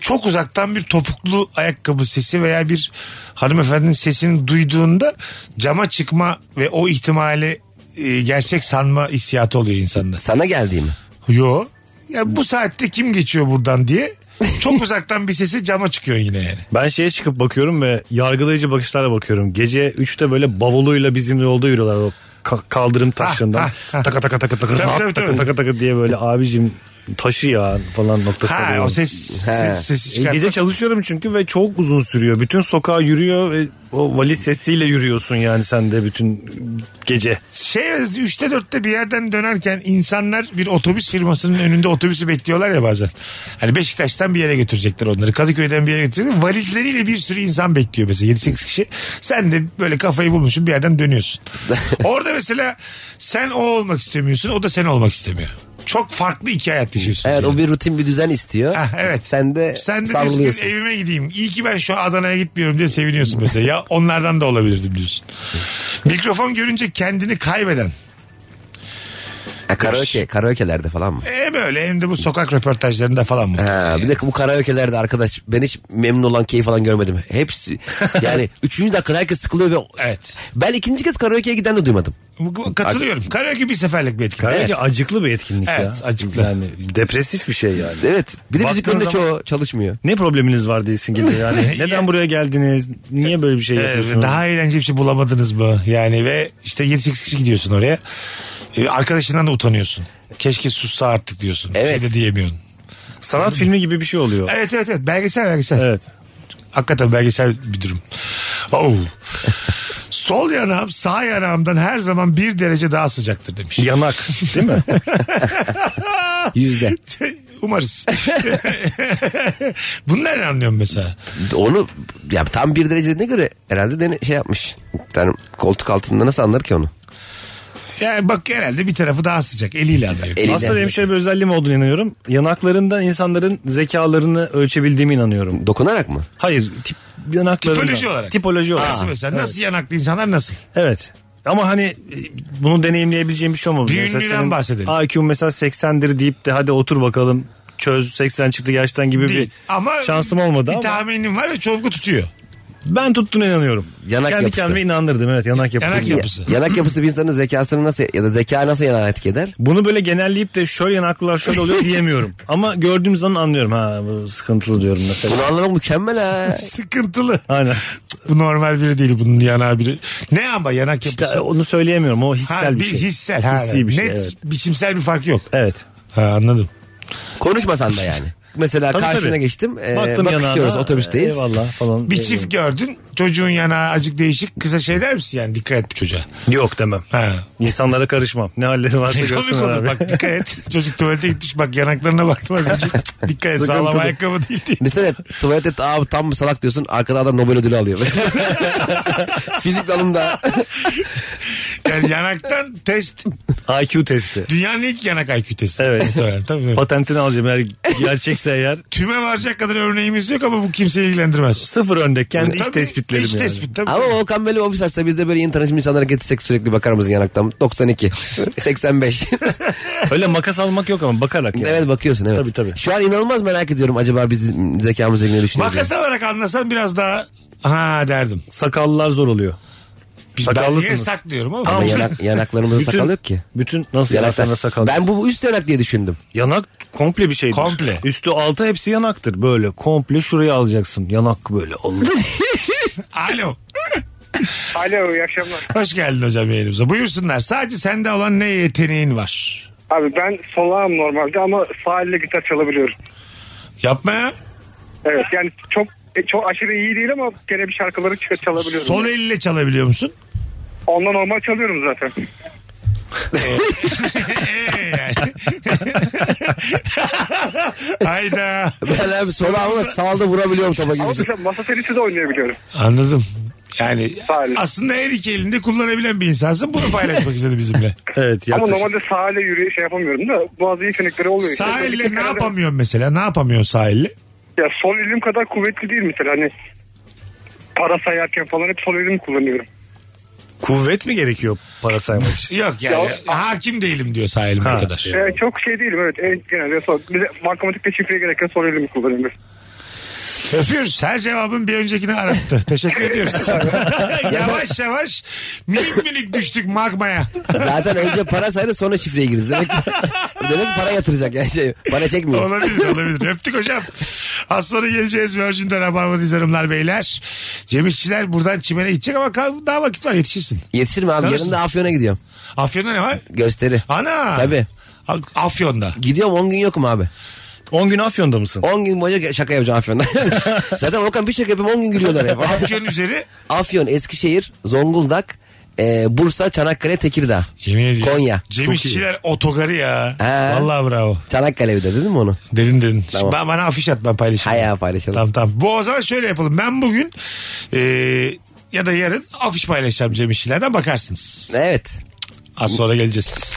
çok uzaktan bir topuklu ayakkabı sesi veya bir hanımefendinin sesini duyduğunda cama çıkma ve o ihtimali e, gerçek sanma hissiyatı oluyor insanda.
Sana geldi mi?
Yo. Ya bu saatte kim geçiyor buradan diye çok uzaktan bir sesi cama çıkıyor yine yani.
Ben şeye çıkıp bakıyorum ve yargılayıcı bakışlarla bakıyorum. Gece 3'te böyle bavuluyla bizim yolda yürüyorlar o ka- kaldırım taşlarından. taka taka taka taka
Ah, Tabii, tabii,
taka
tabii.
taka taka taka diye böyle abicim taşı ya falan noktasına.
Ha
geliyorum.
o ses, ses sesi
E,
çıkartan-
Gece çalışıyorum çünkü ve çok uzun sürüyor. Bütün sokağa yürüyor ve o valiz sesiyle yürüyorsun yani sen de bütün gece.
şey 3'te 4'te bir yerden dönerken insanlar bir otobüs firmasının önünde otobüsü bekliyorlar ya bazen. Hani Beşiktaş'tan bir yere götürecekler onları. Kadıköy'den bir yere götürecekler. Valizleriyle bir sürü insan bekliyor mesela 7-8 kişi. Sen de böyle kafayı bulmuşsun bir yerden dönüyorsun. Orada mesela sen o olmak istemiyorsun o da sen olmak istemiyor. Çok farklı iki hayat yaşıyorsun.
Evet o bir rutin bir düzen istiyor.
evet.
Sen de
Sen de diyorsun
savruluyorsun.
ki evime gideyim. İyi ki ben şu Adana'ya gitmiyorum diye seviniyorsun mesela. ya onlardan da olabilirdim diyorsun. Mikrofon görünce kendini kaybeden.
Ha, karaoke, karaoke'lerde falan mı?
Hem öyle E, hem de bu sokak röportajlarında falan mı?
Ha, bir de bu karaoke'lerde arkadaş ben hiç memnun olan keyif falan görmedim. Hepsi yani üçüncü dakikada herkes sıkılıyor ve
Evet.
ben ikinci kez karaoke'ye giden de duymadım.
Bu- bu- Katılıyorum. Karaoke bir seferlik bir etkinlik.
Karaoke
Evet.
acıklı bir etkinlik ya.
Evet, acıklı.
Yani depresif bir şey yani.
Evet bir de
Baktığın
müziklerin de
zaman-
çoğu çalışmıyor.
Ne probleminiz var değilsin gibi yani. Neden buraya geldiniz? Niye böyle bir şey
Ee,
yapıyorsunuz?
daha eğlenceli bir şey bulamadınız mı? Yani ve işte 7-8 kişi gidiyorsun oraya. Ee, Arkadaşından da utanıyorsun. Keşke sussa artık diyorsun. Bir
Evet.
Şey de diyemiyorsun.
Sanat filmi gibi bir şey oluyor.
Evet evet evet. Belgesel belgesel.
Evet.
Hakikaten belgesel bir durum. Oh. Sol yanağım sağ yanağımdan her zaman bir derece daha sıcaktır demiş.
Yanak değil mi?
Yüzde.
Umarız. Bunlar ne anlıyorum mesela?
Onu ya tam bir derecede ne göre herhalde dene, şey yapmış. Yani koltuk altında nasıl anlar ki onu?
Yani bak herhalde bir tarafı daha sıcak. Eliyle alıyor.
Aslında benim şöyle bir özelliğim olduğunu inanıyorum. Yanaklarından insanların zekalarını ölçebildiğimi inanıyorum.
Dokunarak mı?
Hayır. Tip, yanaklarından.
Tipoloji olarak.
Tipoloji olarak.
Nasıl mesela?
Evet.
Nasıl yanaklı insanlar nasıl?
Evet. Ama hani e, bunu deneyimleyebileceğim bir şey olmamış.
Bir
Mesela
ünlüden
senin
bahsedelim.
IQ 'm mesela 80'dir deyip de hadi otur bakalım çöz 80 çıktı gerçekten gibi
Değil.
bir
Ama
şansım olmadı
bir
ama
tahminim var ve çoğunlukla tutuyor.
ben tuttuğuna inanıyorum.
Yanak
Kendi
yapısı.
kendime inandırdım evet yanak yapısı.
Yanak
diye.
yapısı.
Yanak yapısı bir insanın zekasını nasıl ya da zeka nasıl yana etki eder?
Bunu böyle genelleyip de şöyle yanaklılar şöyle oluyor diyemiyorum. Ama gördüğüm zaman anlıyorum ha bu sıkıntılı diyorum mesela.
Bunu anlamak mükemmel ha.
Sıkıntılı.
Aynen.
Bu normal biri değil bunun yanağı biri. Ne ama yanak yapısı?
İşte onu söyleyemiyorum o hissel
ha,
bir şey.
hissel. Ha,
Hissi bir şey,
Net
evet.
biçimsel bir fark yok.
Evet.
Ha, anladım.
Konuşmasan da yani. Mesela
Tabii,
karşına
tabii.
geçtim. Ee,
Baktım
bakışıyoruz
yanağına,
otobüsteyiz.
Eyvallah falan.
Bir çift gördün çocuğun yanağı acık değişik kısa şey der misin yani dikkat et bu çocuğa.
Yok demem.
Ha.
İnsanlara karışmam. Ne halleri varsa
Ne
görsün
komik olur
abi.
bak dikkat et. Çocuk tuvalete gitmiş bak yanaklarına baktım az önce. Cık, dikkat et sağlam
Sıkıntılı.
ayakkabı değil diye.
Mesela tuvalette abi tam mı salak diyorsun arkada adam Nobel ödülü alıyor. Fizik dalında.
Yani yanaktan test
IQ testi.
dünyanın ilk yanak IQ testi.
Evet.
Muhtemelen, tabii.
Patentini alacağım eğer gerçekse eğer.
Tüme varacak kadar örneğimiz yok ama bu kimseyi ilgilendirmez.
Sıfır önde kendi iç
Tabii,
tespitlerim
iç
yani.
tespit tabii.
Ama Volkan böyle ofis açsa biz de böyle yeni tanışmış insanlara getirsek sürekli bakar mısın yanaktan? 92, 85.
Öyle makas almak yok ama bakarak yani.
evet bakıyorsun evet.
Tabii, tabii.
Şu an inanılmaz merak ediyorum acaba biz zekamız ilgili ne düşünüyor. diye.
Makas olarak anlasan biraz daha ha derdim.
Sakallılar zor oluyor.
Biz ben niye
Sakallısınız.
saklıyorum ama.
Ama yanak, yanaklarımızda
Bütün-
sakal yok ki.
Bütün nasıl
Yanaktan.
yanaklarında sakal?
Ben bu, bu üst yanak diye düşündüm.
Yanak komple bir şeydir.
Komple.
Üstü altı hepsi yanaktır. Böyle komple şuraya alacaksın. Yanak böyle. Allah.
Alo.
Alo iyi akşamlar.
Hoş geldin hocam yayınımıza. Buyursunlar. Sadece sende olan ne yeteneğin var?
Abi ben solağım normalde ama sağ elle gitar çalabiliyorum.
Yapma ya.
Evet yani çok e, çok aşırı iyi değil ama gene bir şarkıları çı- çalabiliyorum.
Sol elle çalabiliyor musun?
Ondan normal çalıyorum zaten.
Ee, yani. Hayda.
Ben abi sola ama sağda vurabiliyorum topa
Ama
gibi.
mesela masa tenisi de oynayabiliyorum.
Anladım. Yani
Sağ el.
aslında her iki elinde kullanabilen bir insansın. Bunu paylaşmak istedi bizimle.
Evet
Ama
yaklaşık.
normalde sağ elle yürüye şey yapamıyorum da bazı yetenekleri oluyor. işte.
Sağ
Özellikle
elle ne
herhalde-
yapamıyorsun mesela? Ne yapamıyorsun sağ elle?
Ya sol elim kadar kuvvetli değil mesela hani para sayarken falan hep sol elimi kullanıyorum.
Kuvvet mi gerekiyor para saymak için?
Yok yani.
Ya-
hakim değilim diyor sağ elime
Ha.
kadar.
Ee, çok şey değilim evet en genelde sol. Bir de matematikte şifreye gereken sol elimi kullanıyorum.
Öpüyoruz. Her cevabın bir öncekini arattı. Teşekkür ediyoruz. yavaş yavaş minik minik düştük magmaya.
Zaten önce para saydı sonra şifreye girdi. Demek ki, demek ki para yatıracak yani şey. Para çekmiyor.
Olabilir olabilir. Öptük hocam. Az sonra geleceğiz Virgin'de Rabarba'dayız hanımlar beyler. Cem İşçiler buradan çimene gidecek ama kal- daha vakit var yetişirsin.
Yetişir mi abi? Yarın da Afyon'a gidiyorum.
Afyon'da ne var?
Gösteri.
Ana.
Tabii.
A- Afyon'da.
Gidiyorum 10 gün yokum abi.
10 gün Afyon'da mısın?
10 gün boyunca şaka yapacağım Afyon'da. Zaten Okan bir şaka yapayım 10 gün gülüyorlar hep.
Afyon üzeri.
Afyon, Eskişehir, Zonguldak, e, Bursa, Çanakkale, Tekirdağ.
Yemin ediyorum.
Konya.
Cem
Çok
İşçiler otogarı ya.
He.
Vallahi bravo.
Çanakkale bir de dedim mi onu?
Dedin dedin. Şimdi
Tamam.
ben, bana afiş at ben paylaşayım.
Hay ya, paylaşalım.
Tamam tamam. Bu o zaman şöyle yapalım. Ben bugün e, ya da yarın afiş paylaşacağım Cem İşçiler'den bakarsınız.
Evet.
Az sonra geleceğiz.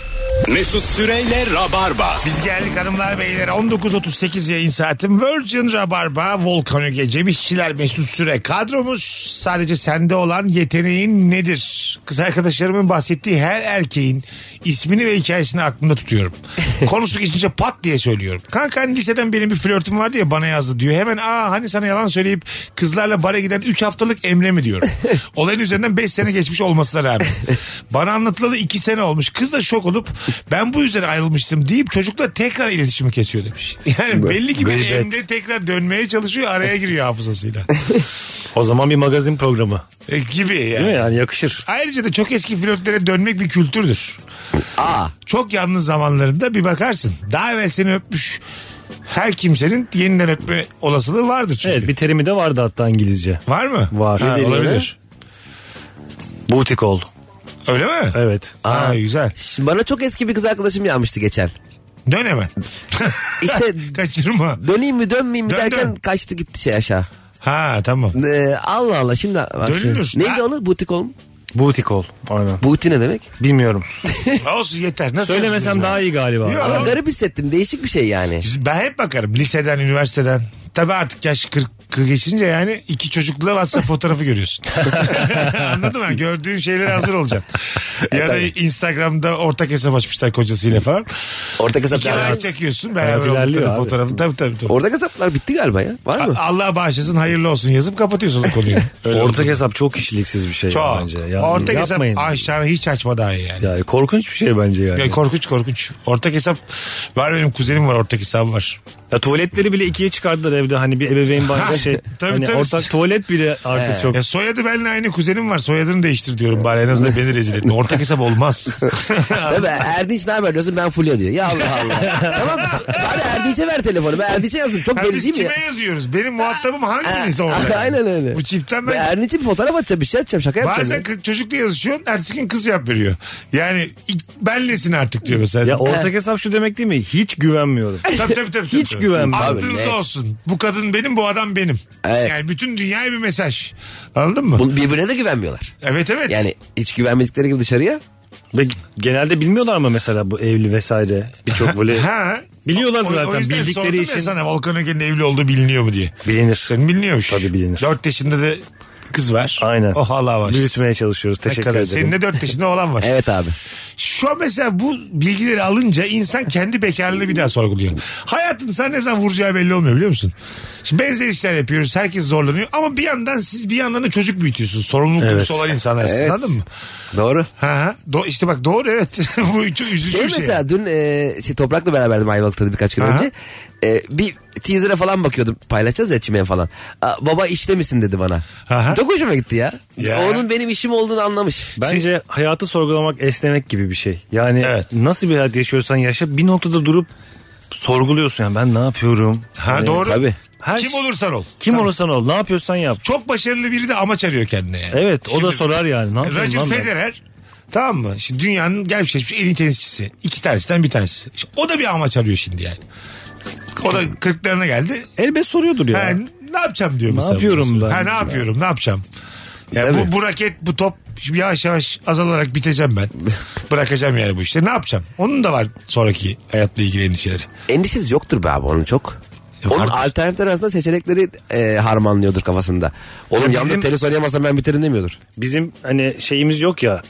Mesut Süreyle Rabarba.
Biz geldik hanımlar beyler 19.38 yayın saatim Virgin Rabarba Volkan Öge Cem İşçiler Mesut Süre kadromuz sadece sende olan yeteneğin nedir? Kız arkadaşlarımın bahsettiği her erkeğin ismini ve hikayesini aklımda tutuyorum. Konusu geçince pat diye söylüyorum. Kanka hani liseden benim bir flörtüm vardı ya bana yazdı diyor. Hemen aa hani sana yalan söyleyip kızlarla bara giden 3 haftalık Emre mi diyorum. Olayın üzerinden 5 sene geçmiş olmasına rağmen. Bana anlatılalı 2 sene olmuş. Kız da şok olup ben bu yüzden ayrılmıştım deyip çocukla tekrar iletişimi kesiyor demiş. Yani belli ki bir
Gıybet.
Emre tekrar dönmeye çalışıyor araya giriyor hafızasıyla.
O zaman bir magazin programı.
E, gibi yani.
Değil mi? Yani yakışır.
Ayrıca da çok eski flörtlere dönmek bir kültürdür.
Aa.
Çok yalnız zamanlarında bir bakarsın. Daha evvel seni öpmüş her kimsenin yeniden öpme olasılığı vardır çünkü.
Evet bir terimi de vardı hatta İngilizce.
Var mı?
Var.
Ha,
Ne deniyor
olabilir.
Booty call.
Öyle mi?
Evet.
Aa, güzel.
Şimdi bana çok eski bir kız arkadaşım yanmıştı geçen.
Dön hemen.
İşte
Kaçırma.
döneyim mi dönmeyeyim mi
Dön,
derken
dön.
kaçtı gitti şey aşağı.
Ha tamam.
Ee, Allah Allah şimdi bak
Dönülür.
Şey, neydi
Ha.
onu? Butik olm.
Booty call. Aynen.
Booty ne demek?
Bilmiyorum.
Olsun yeter. Nasıl
Söylemesem
olsun?
daha iyi galiba.
Yok.
Ama garip hissettim. Değişik bir şey yani.
Ben hep bakarım liseden, üniversiteden. Tabii artık yaş 40 geçince yani iki çocukla WhatsApp fotoğrafı görüyorsun. Anladın mı? Gördüğün şeylere hazır olacaksın. ya da
tabii.
Instagram'da ortak hesap açmışlar kocasıyla falan.
Ortak
İki ay
hesaplar.
çekiyorsun
Hayat
beraber
ilerliyor
oldukları
abi.
fotoğrafı. Tabii tabii. tabii.
Ortak hesaplar bitti galiba ya. Var mı?
A- Allah bağışlasın hayırlı olsun yazıp kapatıyorsun o konuyu. Öyle
Ortak
oldu.
hesap çok kişiliksiz bir şey ya
Çok.
bence. Yani
Ortak hesap
yapmayın.
aşağına hiç açma daha iyi yani.
Yani korkunç bir şey bence yani.
Ya korkunç korkunç. Ortak hesap var benim kuzenim var ortak hesabı var.
Ya tuvaletleri bile ikiye çıkardılar evde hani bir ebeveyn banyo şey.
Tabii,
hani
tabii.
ortak tuvalet bile artık çok.
Ya soyadı benimle aynı kuzenim var. Soyadını değiştir diyorum bari en azından beni rezil etme. Ortak hesap olmaz.
Tabii Erdinç ne haber diyorsun ben Fulya diyor. Ya Allah Allah. tamam Hadi Erdinç'e ver telefonu. Ben Erdinç'e yazdım. Çok
Ha,
belli
biz
değil mi? ya?
kime yazıyoruz? Benim muhatabım hanginiz
Ha,
orada?
Aynen öyle.
Bu çiftten
Ben
ben...
Erdinç'e bir fotoğraf atacağım bir şey atacağım şaka yapacağım.
Bazen
ya.
kız- çocukla yazışıyorsun ertesi gün kız yap veriyor. Yani ilk- benlesin artık diyor mesela.
Ya ortak hesap şu demek değil mi? Hiç güvenmiyorum.
Tabii tabii tabii.
Hiç
tabii.
güvenmiyorum.
Aklınız
Abi, net.
olsun. Bu kadın benim bu adam benim.
Evet.
Yani bütün dünyaya bir mesaj. Anladın mı?
Bu- birbirine de güvenmiyorlar.
Evet evet.
Yani hiç güvenmedikleri gibi dışarıya.
Ve genelde bilmiyorlar mı mesela bu evli vesaire birçok böyle
Ha.
Biliyorlar
O- o
zaten,
yüzden
bildikleri
sordum ya
için-
sana Volkan Öge'nin evli olduğu biliniyor mu diye.
bilinir.
Senin biliniyormuş.
Tabii bilinir.
4 yaşında da kız var.
Aynen.
O hala var.
Büyütmeye çalışıyoruz.
Ne
Teşekkür
kadar.
ederim.
Senin de 4 yaşında olan var.
Evet abi.
Şu an mesela bu bilgileri alınca insan kendi bekarlığını bir daha sorguluyor. Hayatın sana ne zaman vuracağı belli olmuyor biliyor musun? Şimdi benzer işler yapıyoruz. Herkes zorlanıyor. Ama bir yandan siz bir yandan da çocuk büyütüyorsunuz. Sorumluluk
Evet.
duygusu olan insanlarsınız.
Evet.
Anladın mı?
Doğru.
Ha, ha. Do- işte bak doğru evet. bu çok üzücü
Şey
bir şey.
mesela dün e, şey, Toprak'la beraberdim Ayvalık'ta da birkaç gün
Aha.
önce. E, bir teaser'a falan bakıyordum. Paylaşacağız ya çimen falan. Aa, baba işte misin dedi bana.
Aha.
Çok hoşuma gitti ya.
Ya.
Onun benim işim olduğunu anlamış. Şey,
Bence hayatı sorgulamak esnemek gibi bir şey. Yani
Evet.
nasıl bir hayat yaşıyorsan yaşa bir noktada durup sorguluyorsun yani ben ne yapıyorum?
Ha
Hani
doğru.
e, Tabii.
Her
Kim
şey-
olursan ol.
Kim olursan ol ne yapıyorsan yap.
Çok başarılı biri de amaç arıyor kendine yani.
Evet o da
Şimdi-
sorar yani. Ne yapayım
Roger
lan ben?
Federer tamam mı? Şimdi dünyanın gelmiş geçmiş en iyi tenisçisi. İki tanesinden bir tanesi. Şimdi o da bir amaç arıyor şimdi yani. O da kırklarına geldi.
Elbet soruyordur ya.
Ha, ne yapacağım diyor
Ne
mesela.
yapıyorum
burası.
ben?
Ha, ne yapıyorum ne yapacağım. Ya
Tabii.
bu, bu raket bu top şimdi yavaş yavaş azalarak biteceğim ben. Bırakacağım yani bu işte. Ne yapacağım? Onun da var sonraki hayatla ilgili endişeleri.
Endişesiz yoktur be abi onun çok.
Yok
onun
artık.
alternatifler arasında seçenekleri e, harmanlıyordur kafasında. Oğlum
Ya
yalnız
bizim-
tenis oynayamasam ben biterim demiyordur.
Bizim hani şeyimiz yok ya.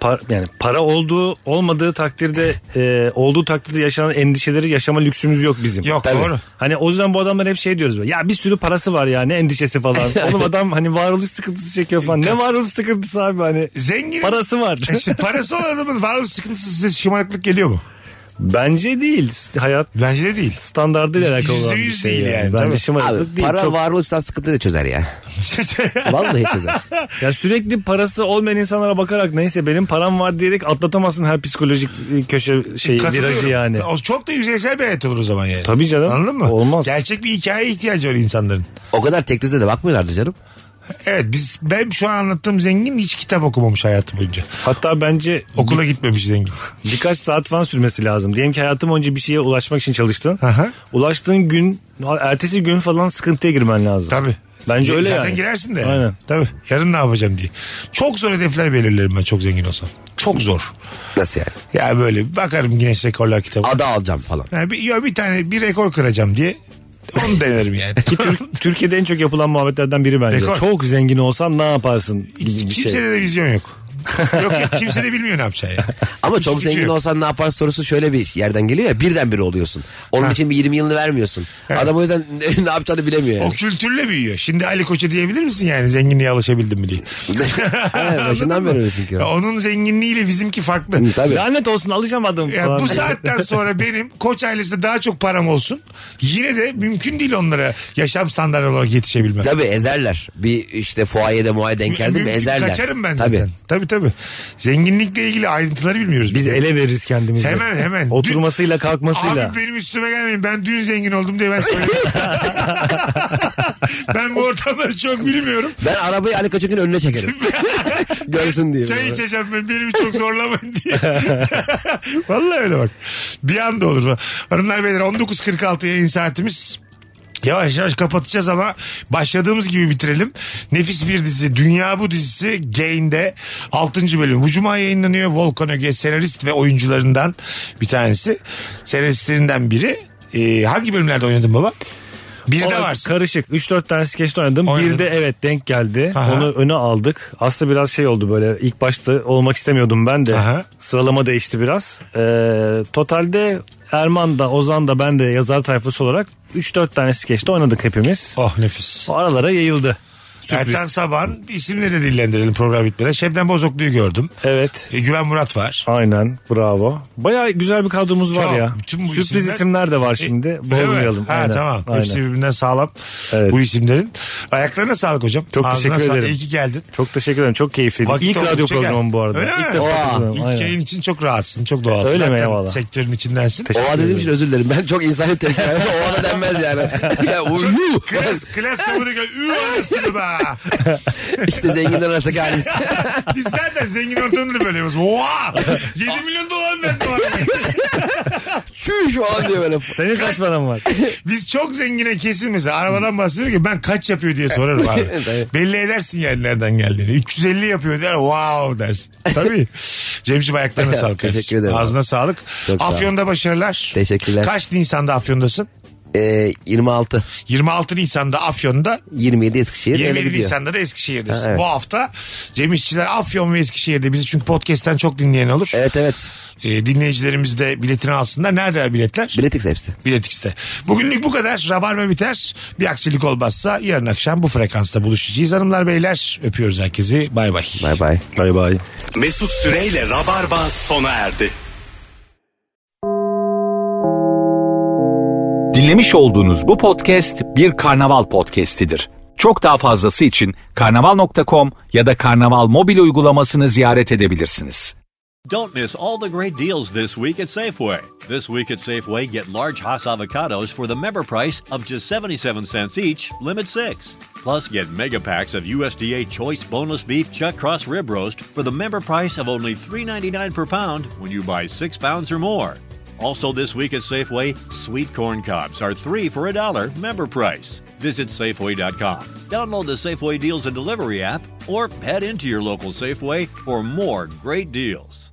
par- yani para olduğu olmadığı takdirde e, olduğu takdirde yaşanan endişeleri yaşama lüksümüz yok bizim.
Yok doğru.
Hani o yüzden bu adamlar hep şey diyoruz. böyle, Ya bir sürü parası var ya ne endişesi falan. Oğlum adam hani varoluş sıkıntısı çekiyor falan. Ne varoluş sıkıntısı abi hani.
Zenginin
Parası var.
İşte parası olan adamın varlık sıkıntısı size şımarıklık geliyor mu?
Bence değil. Hayat
Bence de değil.
standartıyla alakalı olan bir
%100
şey.
değil yani,
Bence
tabii.
şımarıklık
Abi
değil.
para
Çok-
varoluşsal sıkıntıyı da çözer ya. Vallahi çözer.
Ya sürekli parası olmayan insanlara bakarak neyse benim param var diyerek atlatamazsın her psikolojik e, köşe şey
Katılıyorum.
virajı yani.
O çok da yüzeysel bir hayat olur o zaman yani.
Tabii canım.
Anladın mı?
Olmaz.
Gerçek bir hikayeye ihtiyacı var insanların.
O kadar tek düze de bakmıyorlardı canım.
Evet biz ben şu an anlattığım zengin hiç kitap okumamış hayatı boyunca.
Hatta bence
Okula gitmemiş zengin.
birkaç saat falan sürmesi lazım. Diyelim ki hayatım önce bir şeye ulaşmak için çalıştın.
Aha.
Ulaştığın gün, ertesi gün falan sıkıntıya girmen lazım.
Tabii.
Bence öyle
Zaten
yani.
girersin de.
Aynen.
Tabii. Yarın ne yapacağım diye. Çok zor hedefler belirlerim ben çok zengin olsam. Çok zor.
Nasıl yani?
Ya böyle bakarım Guinness Rekorlar kitabı.
Ada alacağım falan.
Yani bir, ya bir tane bir rekor kıracağım diye onu denerim yani.
Türk- Türkiye'de en çok yapılan muhabbetlerden biri bence.
Rekor.
Çok zengin olsan ne yaparsın gibi bir
Kimsede
şey.
de vizyon yok. yok yok kimse de bilmiyor ne yapacağı yani.
Ama çok
Hiçbir şey
zengin
yok.
olsan ne yaparsın sorusu şöyle bir yerden geliyor ya birdenbire oluyorsun. Onun için bir 20 yılını vermiyorsun. Adam o yüzden ne yapacağını bilemiyor yani.
O kültürle büyüyor. Şimdi Ali Koç'a diyebilir misin yani zenginliğe alışabildim mi diye.
Evet, başından
Anladın mı?
beri öyle çünkü.
Ya
o.
Onun zenginliğiyle bizimki farklı.
Hı, Tabii.
Lanet olsun alışamadım
Ya
falan.
bu saatten sonra benim koç ailesinde daha çok param olsun. Yine de mümkün değil onlara yaşam standartı olarak yetişebilmem.
Tabii ezerler. Bir işte fuayede muayede denk geldi mi
Mümkün-
ezerler.
Kaçarım ben
Tabii.
zaten. Tabii tabii. Zenginlikle ilgili ayrıntıları bilmiyoruz.
Biz ele veririz kendimizi.
Hemen hemen.
Oturmasıyla kalkmasıyla.
Abi benim üstüme gelmeyin. Ben dün zengin oldum diye ben söylüyorum. ben bu ortamları çok bilmiyorum.
Ben arabayı Ali Koç'un önüne çekerim. Görsün diye.
Çay içeceğim ben beni çok zorlamayın diye. Vallahi öyle bak. Bir anda olur. Hanımlar beyler 19.46 yayın saatimiz. Yavaş yavaş kapatacağız ama başladığımız gibi bitirelim. Nefis bir dizi Dünya Bu dizisi Gain'de 6. bölüm. Bu cuma yayınlanıyor. Volkan Öge senarist ve oyuncularından bir tanesi. Senaristlerinden biri. Ee, hangi bölümlerde oynadın baba? Bir de
O
var.
Karışık. 3-4 tane skeçte oynadım.
Oynadın.
Bir de evet denk geldi.
Aha.
Onu öne aldık. Aslında biraz şey oldu böyle. İlk başta olmak istemiyordum ben de. Sıralama değişti biraz. Ee, totalde Erman da Ozan da ben de yazar tayfası olarak 3-4 tane skeçte oynadık hepimiz.
Oh nefis.
O aralara yayıldı. Sürpriz.
Ertan Saban isimleri de dillendirelim program bitmeden. Şebnem Bozoklu'yu gördüm. E,
Evet.
Güven Murat var.
Aynen bravo. Baya güzel bir kadromuz var ya.
bütün bu
Sürpriz isimler de var şimdi.
E,
Bozmayalım.
evet. Ha,
Aynen.
tamam.
Aynen.
Hepsi birbirinden sağlam bu isimlerin. Ayaklarına sağlık hocam.
Çok
Ağzına
teşekkür
sağlık.
ederim.
İyi ki geldin.
Çok teşekkür ederim. Çok keyifliydi.
Vakit
İlk
oldukça
radyo
gel.
programı bu arada.
Öyle
İlk
mi?
defa katılıyorum.
İlk
Aynen.
yayın için çok rahatsın. Çok doğalsın.
Öyle mi
Zaten
eyvallah.
Sektörün içindensin.
Teşekkür
Oha
ederim.
dediğim için özür dilerim. Ben çok insani tepki verdim. Oha da denmez yani. ya, uyu.
Klas, klas kabuğunu gör. Üü anasını be.
İşte zenginler arasındaki halimiz.
Biz zaten zengin ortamını da böyle yapıyoruz. Oha! 7 milyon dolar verdim abi.
Çüş falan diyor böyle.
Senin kaç paran var?
Biz çok zengine kesin mesela arabadan bahsediyor ki ben kaç yapıyor diye sorarım abi. Belli edersin yani nereden geldiğini. 350 yapıyor der wow dersin. Tabii. Cemciğim ayaklarına sağlık.
Teşekkür ederim.
Ağzına sağlık.
Çok sağ ol.
Afyon'da başarılar.
Teşekkürler.
Kaç Nisan'da Afyon'dasın?
Ee, 26.
26 Nisan'da Afyon'da
27 Eskişehir. öyle
27
gidiyor.
Nisan'da da Eskişehir'desin.
Ha, evet.
Bu hafta Cem İşçiler Afyon ve Eskişehir'de bizi çünkü podcast'ten çok dinleyen olur.
Evet evet.
Ee, dinleyicilerimiz de biletini alsınlar. Neredeler biletler?
Biletix hepsi.
Biletix'te. Bugünlük bu kadar. Rabarba biter. Bir aksilik olmazsa yarın akşam bu frekansta buluşacağız. Hanımlar beyler öpüyoruz herkesi. Bay bay.
Bay bay.
Bay bay.
Mesut Süreyle Rabarba sona erdi.
Dinlemiş olduğunuz bu podcast bir karnaval podcastidir. Çok daha fazlası için karnaval.com ya da karnaval mobil uygulamasını ziyaret edebilirsiniz.
Don't miss all the great deals this week at Safeway. This week at Safeway, get large Hass avocados for the member price of just 77 cents each, limit six. Plus, get mega packs of USDA Choice Boneless Beef Chuck Cross Rib Roast for the member price of only $3.99 per pound when you buy six pounds or more. Also, this week at Safeway, sweet corn cobs are three for a dollar member price. Visit Safeway.com, download the Safeway Deals and Delivery app, or head into your local Safeway for more great deals.